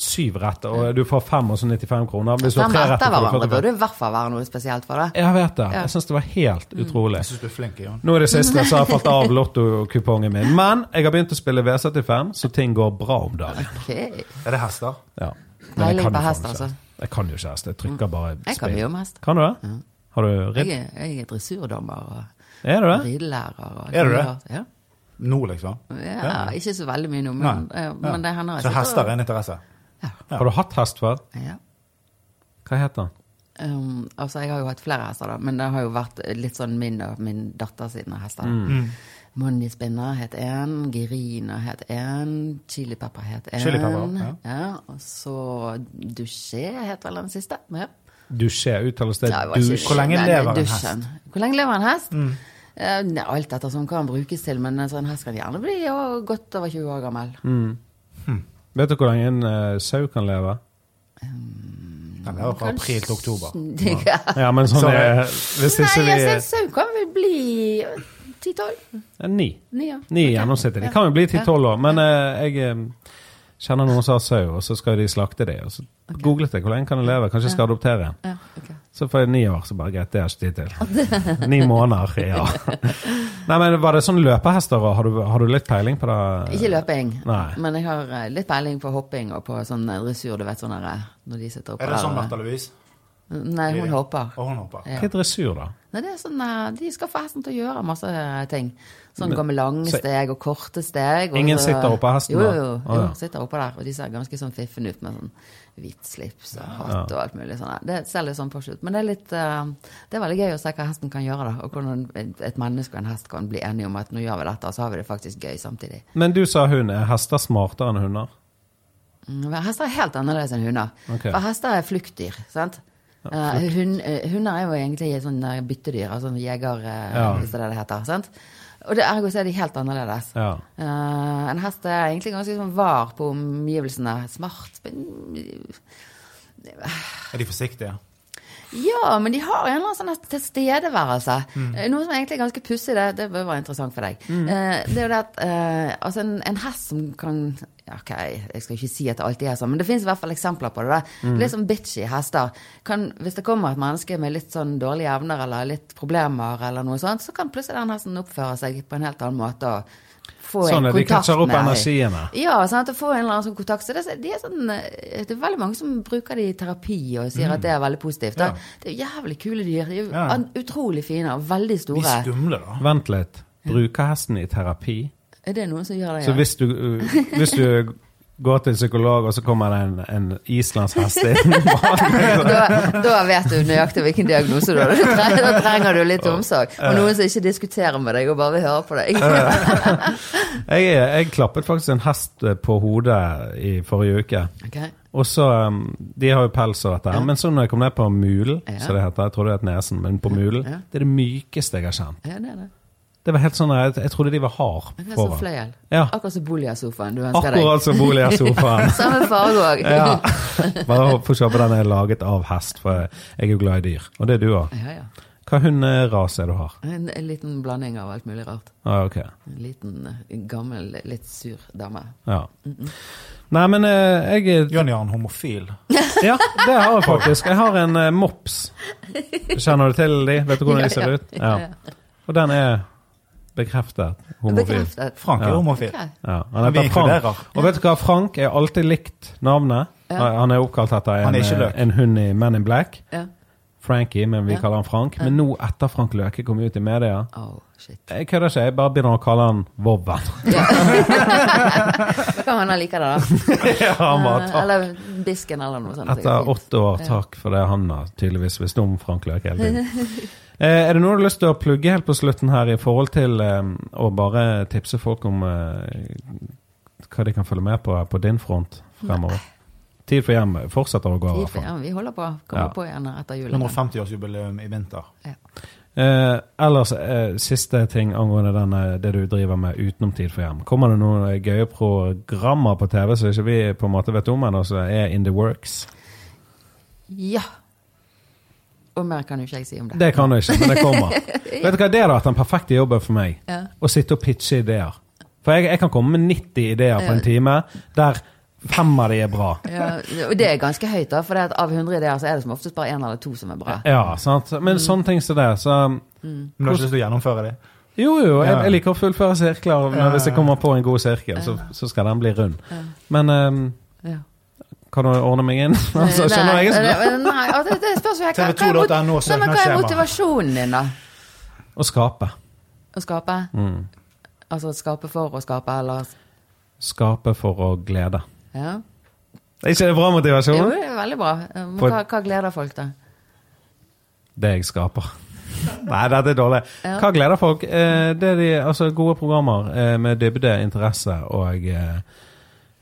[SPEAKER 1] syv retter, og du får fem og så 95 kroner. Hvis du har
[SPEAKER 2] Fem
[SPEAKER 1] tre retter,
[SPEAKER 2] etter
[SPEAKER 1] får du
[SPEAKER 2] hverandre
[SPEAKER 1] 45.
[SPEAKER 2] burde i hvert fall være noe spesielt for det.
[SPEAKER 1] Jeg vet det.
[SPEAKER 2] Ja. Mm.
[SPEAKER 1] Jeg syns det var helt utrolig.
[SPEAKER 3] Jeg syns du er flink, Jon.
[SPEAKER 1] Nå er det siste som har falt av lottokupongen min. Men jeg har begynt å spille V75, så ting går bra om dagen.
[SPEAKER 2] Ok.
[SPEAKER 3] Er det hester?
[SPEAKER 1] Ja.
[SPEAKER 2] Peiling
[SPEAKER 1] jeg kan
[SPEAKER 2] på
[SPEAKER 1] jo faen
[SPEAKER 2] hest,
[SPEAKER 1] ikke
[SPEAKER 2] altså. Mm.
[SPEAKER 1] hest. Jeg kan jo ikke hest. Jeg trykker bare
[SPEAKER 2] Jeg kan
[SPEAKER 1] spill.
[SPEAKER 2] mye om hest.
[SPEAKER 1] Kan du det? Har du ridd?
[SPEAKER 2] Jeg er, jeg er dressurdommer og
[SPEAKER 1] Er du det?
[SPEAKER 2] ridelærer. Og
[SPEAKER 3] Er du det?
[SPEAKER 2] Ja.
[SPEAKER 3] Nå, liksom?
[SPEAKER 2] ja. Ikke så veldig mye nå,
[SPEAKER 3] Nei.
[SPEAKER 2] men, ja,
[SPEAKER 3] Ja.
[SPEAKER 2] men det hender jeg
[SPEAKER 3] Så
[SPEAKER 2] sitter
[SPEAKER 3] hester
[SPEAKER 2] og-
[SPEAKER 3] er en interesse?
[SPEAKER 1] Har du hatt hest før?
[SPEAKER 2] Ja.
[SPEAKER 1] Hva heter den?
[SPEAKER 2] Um, altså, jeg har jo hatt flere hester, da, men det har jo vært litt sånn min og min datter sine hester. da.
[SPEAKER 3] Mm.
[SPEAKER 2] Money Spinner het én, Girina het én, Chili Pepper het én.
[SPEAKER 3] Chili Pepper, ja.
[SPEAKER 2] og så Duché het vel den siste. Ja.
[SPEAKER 1] Dusje uttales det
[SPEAKER 2] Nei, det var
[SPEAKER 1] dusj.
[SPEAKER 2] ikke-
[SPEAKER 3] Hvor lenge
[SPEAKER 2] Nei,
[SPEAKER 3] lever en
[SPEAKER 2] dusjen. Hvor lenge lever en hest? Eh, nei, alt etter som hva den brukes til, men en sånn hest kan gjerne bli ja, godt over 20 år gammel.
[SPEAKER 3] Mm.
[SPEAKER 1] Vet du hvor lenge en eh, sau kan leve?
[SPEAKER 3] Den lever fra april til oktober.
[SPEAKER 2] Ja.
[SPEAKER 1] Ja, men sånn
[SPEAKER 3] Sorry.
[SPEAKER 1] er Hvis ikke
[SPEAKER 2] Nei,
[SPEAKER 1] vi
[SPEAKER 2] jeg ser sau kan vel bli 10-12?
[SPEAKER 1] Eh, Ni.
[SPEAKER 2] Ni år.
[SPEAKER 1] Ni i gjennomsnittet. De kan jo bli 10-12 år, men eh, jeg eh, kjenner noen som har sau, og så skal de slakte det. Og så googlet jeg hvor lenge kan de leve, kanskje jeg skal adoptere en.
[SPEAKER 2] Ja, ok.
[SPEAKER 1] Så får jeg ni år, så bare greit, det har jeg ikke tid til. Ni måneder, ja. Nei, men Var det sånn løpehester, og har du, har du litt peiling på det?
[SPEAKER 2] Ikke løping,
[SPEAKER 1] Nei.
[SPEAKER 2] men jeg har eh, litt peiling på hopping og på sånn eh, dressur. Du vet sånn der eh, når de sitter oppe
[SPEAKER 3] Er det sånn Märtha
[SPEAKER 2] og-
[SPEAKER 3] Louise?
[SPEAKER 2] Nei, hun hopper.
[SPEAKER 3] Og hun hopper.
[SPEAKER 1] Hva er dressur, da?
[SPEAKER 2] Nei, det er sånn, eh, de skal få hesten til å gjøre masse eh, ting. Sånn gå med lange
[SPEAKER 1] så-
[SPEAKER 2] steg og korte steg. Og
[SPEAKER 1] Ingen
[SPEAKER 2] så-
[SPEAKER 1] sitter oppå hesten,
[SPEAKER 2] Jo,
[SPEAKER 1] da?
[SPEAKER 2] jo, jo,
[SPEAKER 1] Å, ja.
[SPEAKER 2] jo, sitter oppå der. Og de ser ganske sånn fiffen ut med sånn hvitt slips og hatt og alt mulig sånn. Det ser litt sånn posh ut. Men det er litt eh, Det er veldig gøy å se hva hesten kan gjøre, da. Og hvordan et- et menneske og en hest kan bli enige om at nå gjør vi dette, og så har vi det faktisk gøy samtidig.
[SPEAKER 1] Men du sa hun er hester smartere enn hunder?
[SPEAKER 2] Mm, men Hester er helt annerledes enn hunder.
[SPEAKER 1] Ok.
[SPEAKER 2] For hester er fluktdyr. sant? Eh, hun, eh, hunder er jo egentlig et sånn eh, byttedyr, altså jeger, eh,
[SPEAKER 1] Ja.
[SPEAKER 2] hvis det er det det heter. sant? Og det Ergo så er de helt annerledes.
[SPEAKER 1] Ja.
[SPEAKER 2] Eh, en hest er egentlig ganske sånn var på omgivelsene. Smart men-
[SPEAKER 3] Er de forsiktige?
[SPEAKER 2] Ja, men de har en eller annen sånn tilstedeværelse.
[SPEAKER 1] Mm.
[SPEAKER 2] Eh, Noe som egentlig er ganske pussig, det, det bør være interessant for deg. Eh, det er jo det at eh, altså en, en hest som kan ja, Ok, jeg skal ikke si at det alltid er sånn, men det fins i hvert fall eksempler på det. da.
[SPEAKER 1] Mm.
[SPEAKER 2] Litt sånn bitchy hester. Kan, hvis det kommer et menneske med litt sånn dårlige evner eller litt problemer, eller noe sånt, så kan plutselig den hesten oppføre seg på en helt annen måte. og få
[SPEAKER 1] Sånn
[SPEAKER 2] en
[SPEAKER 1] at de
[SPEAKER 2] kontakt
[SPEAKER 1] catcher opp
[SPEAKER 2] med-
[SPEAKER 1] energiene.
[SPEAKER 2] ja, sant, å få en eller annen sånn kontakt. Så det, er så- de er sånn, eh, det er veldig mange som bruker det i terapi og sier at det er veldig positivt. Da.
[SPEAKER 3] Ja.
[SPEAKER 2] Det er jo jævlig kule dyr. De er jo
[SPEAKER 3] Ja.
[SPEAKER 2] an- utrolig fine og veldig
[SPEAKER 3] De er
[SPEAKER 2] store.
[SPEAKER 3] skumle, da.
[SPEAKER 1] Vent litt. Bruker hesten i terapi?
[SPEAKER 2] Er det noen som gjør det?
[SPEAKER 1] Så
[SPEAKER 2] ja?
[SPEAKER 1] hvis du, uh, hvis du går til en psykolog, og så kommer det en, en islandshest inn
[SPEAKER 2] da, da vet du nøyaktig hvilken diagnose du har. Da trenger, da trenger du litt omsorg. Og noen som ikke diskuterer med deg og bare vil høre på deg.
[SPEAKER 1] jeg, jeg klappet faktisk en hest eh, på hodet i forrige uke.
[SPEAKER 2] Ok.
[SPEAKER 1] Og så, um, De har jo pels og dette, her, men så når jeg kom ned på mulen,
[SPEAKER 2] Ja.
[SPEAKER 1] så det heter, jeg trodde det het nesen, men på mulen,
[SPEAKER 2] Ja.
[SPEAKER 1] det er det mykeste jeg har kjent.
[SPEAKER 2] Ja, det er det.
[SPEAKER 1] Det var helt sånn, Jeg, jeg trodde de var hard
[SPEAKER 2] Akkurat som
[SPEAKER 1] foran.
[SPEAKER 2] fløyel.
[SPEAKER 1] Ja.
[SPEAKER 2] Akkurat som Bolia-sofaen du ønsker deg.
[SPEAKER 1] Akkurat som boligsofaen.
[SPEAKER 2] Samme farge òg.
[SPEAKER 1] ja. Bare få se på den er laget av hest, for jeg er jo glad i dyr. Og det er du òg.
[SPEAKER 2] Ja, ja.
[SPEAKER 1] Hva hunderase er du har?
[SPEAKER 2] En, en liten blanding av alt mulig rart.
[SPEAKER 1] Ah, ok.
[SPEAKER 2] En liten, eh, gammel, litt sur dame.
[SPEAKER 1] Ja. Nei, men eh, jeg
[SPEAKER 3] Jonny er en homofil.
[SPEAKER 1] Ja, det har jeg faktisk. Jeg har en eh, mops. Kjenner du til de? Vet du hvordan de
[SPEAKER 2] Ja,
[SPEAKER 1] ser
[SPEAKER 2] ja.
[SPEAKER 1] ut? Ja. Og den er bekreftet homofil.
[SPEAKER 2] Bekreftet.
[SPEAKER 3] Frank er
[SPEAKER 1] Ja.
[SPEAKER 3] homofil.
[SPEAKER 2] Ok.
[SPEAKER 1] Ja, han
[SPEAKER 3] Vi
[SPEAKER 1] heter Frank.
[SPEAKER 3] inkluderer.
[SPEAKER 1] Og vet du hva, Frank er alltid likt navnet. Han er oppkalt etter
[SPEAKER 3] Han
[SPEAKER 1] en,
[SPEAKER 3] er ikke løk.
[SPEAKER 1] eh, en hund i Men in Black.
[SPEAKER 2] Ja.
[SPEAKER 1] Frankie, men vi
[SPEAKER 2] Ja.
[SPEAKER 1] kaller han Frank. Men nå, etter Frank Løke kom ut i media
[SPEAKER 2] Oh, shit.
[SPEAKER 1] Jeg kødder ikke, jeg bare begynner å kalle han Vobben.
[SPEAKER 2] Ja. kan hende han liker det, da.
[SPEAKER 1] ja, han bare
[SPEAKER 2] Eh,
[SPEAKER 1] takk.
[SPEAKER 2] Eller Bisken eller noe sånt.
[SPEAKER 1] Etter åtte år, takk for det han har tydeligvis visst om Frank Løke hele tiden. Eh, er det noe du har lyst til å plugge helt på slutten her i forhold til eh, å bare tipse folk om eh, hva de kan følge med på på din front fremover? Tid for hjem fortsetter å gå. i
[SPEAKER 2] Tid
[SPEAKER 1] hvert
[SPEAKER 2] for-
[SPEAKER 1] fall.
[SPEAKER 2] Ja, vi holder på. Kommer
[SPEAKER 1] Ja.
[SPEAKER 2] på igjen etter julen.
[SPEAKER 3] 150-årsjubileum i vinter.
[SPEAKER 1] Eh, ellers, eh, siste ting angående denne, det du driver med utenom Tid for hjem. Kommer det noen eh, gøye programmer på TV som ikke vi på en måte vet om ennå, som er in the works?
[SPEAKER 2] Ja. Og mer kan jo ikke jeg si om det.
[SPEAKER 1] Det kan du ikke, men det kommer. Vet du hva, Det har vært den perfekte jobben for meg.
[SPEAKER 2] Ja.
[SPEAKER 1] Å sitte og pitche ideer. For jeg, jeg kan komme med 90 ideer på en time, der fem av de er bra.
[SPEAKER 2] Ja, og det er ganske høyt, da, for det at av 100 ideer så er det som oftest bare én eller to som er bra.
[SPEAKER 1] Ja, sant?
[SPEAKER 2] Mm.
[SPEAKER 1] Men sånne ting som det, så
[SPEAKER 3] Men du har ikke lyst til å gjennomføre det?
[SPEAKER 1] Jo, jo, jeg,
[SPEAKER 3] Ja.
[SPEAKER 1] jeg liker å fullføre sirkler. Men hvis jeg kommer på en god sirkel, så, så skal den bli rund. Men ehm,
[SPEAKER 2] Ja.
[SPEAKER 1] Kan du ordne meg inn? Altså, skjønner
[SPEAKER 2] Nei,
[SPEAKER 1] jeg ikke.
[SPEAKER 2] nei, nei, ja, det, det spørs jo her. Hva, hva,
[SPEAKER 3] TV2.no
[SPEAKER 2] er mot- nei, men hva er
[SPEAKER 3] søknadsskjema.
[SPEAKER 2] motivasjonen din, da?
[SPEAKER 1] Å skape.
[SPEAKER 2] Å skape?
[SPEAKER 1] Mm.
[SPEAKER 2] Altså skape for å skape, eller
[SPEAKER 1] Skape for å glede.
[SPEAKER 2] Ja.
[SPEAKER 1] Er ikke det bra
[SPEAKER 2] Jo,
[SPEAKER 1] motivasjon?
[SPEAKER 2] det er veldig bra. Men
[SPEAKER 1] For-
[SPEAKER 2] hva, hva gleder folk, da?
[SPEAKER 1] Det jeg skaper. Nei, dette er dårlig.
[SPEAKER 2] Ja.
[SPEAKER 1] Hva gleder folk? Eh, det er de, altså, gode programmer eh, med dybde, interesse og eh,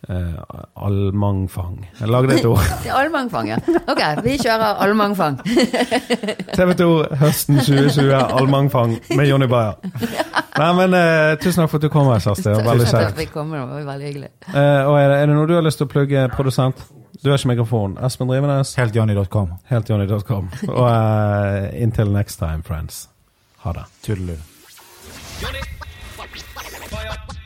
[SPEAKER 1] eh, allmangfang. Jeg lagde et ord.
[SPEAKER 2] Det er Allmangfang, ja. Ok, vi kjører allmangfang.
[SPEAKER 1] TV 2 høsten 2020, allmangfang med Jonny Bayer. Nei, men eh, tusen takk for at du kom her, Kjersti. Det var Veldig
[SPEAKER 2] Takk for at
[SPEAKER 1] kjekt.
[SPEAKER 2] vi kom, det var veldig hyggelig.
[SPEAKER 1] Eh, og er det, er det noe du har lyst til å plugge, produsent? Du har ikke mikrofon. Espen Drivenes.
[SPEAKER 3] Heltjohnny.com.
[SPEAKER 1] Heltjohnny.com. Og eh, until next time, friends. Ha det.
[SPEAKER 3] Tudelud.
[SPEAKER 4] Jonny. Fire.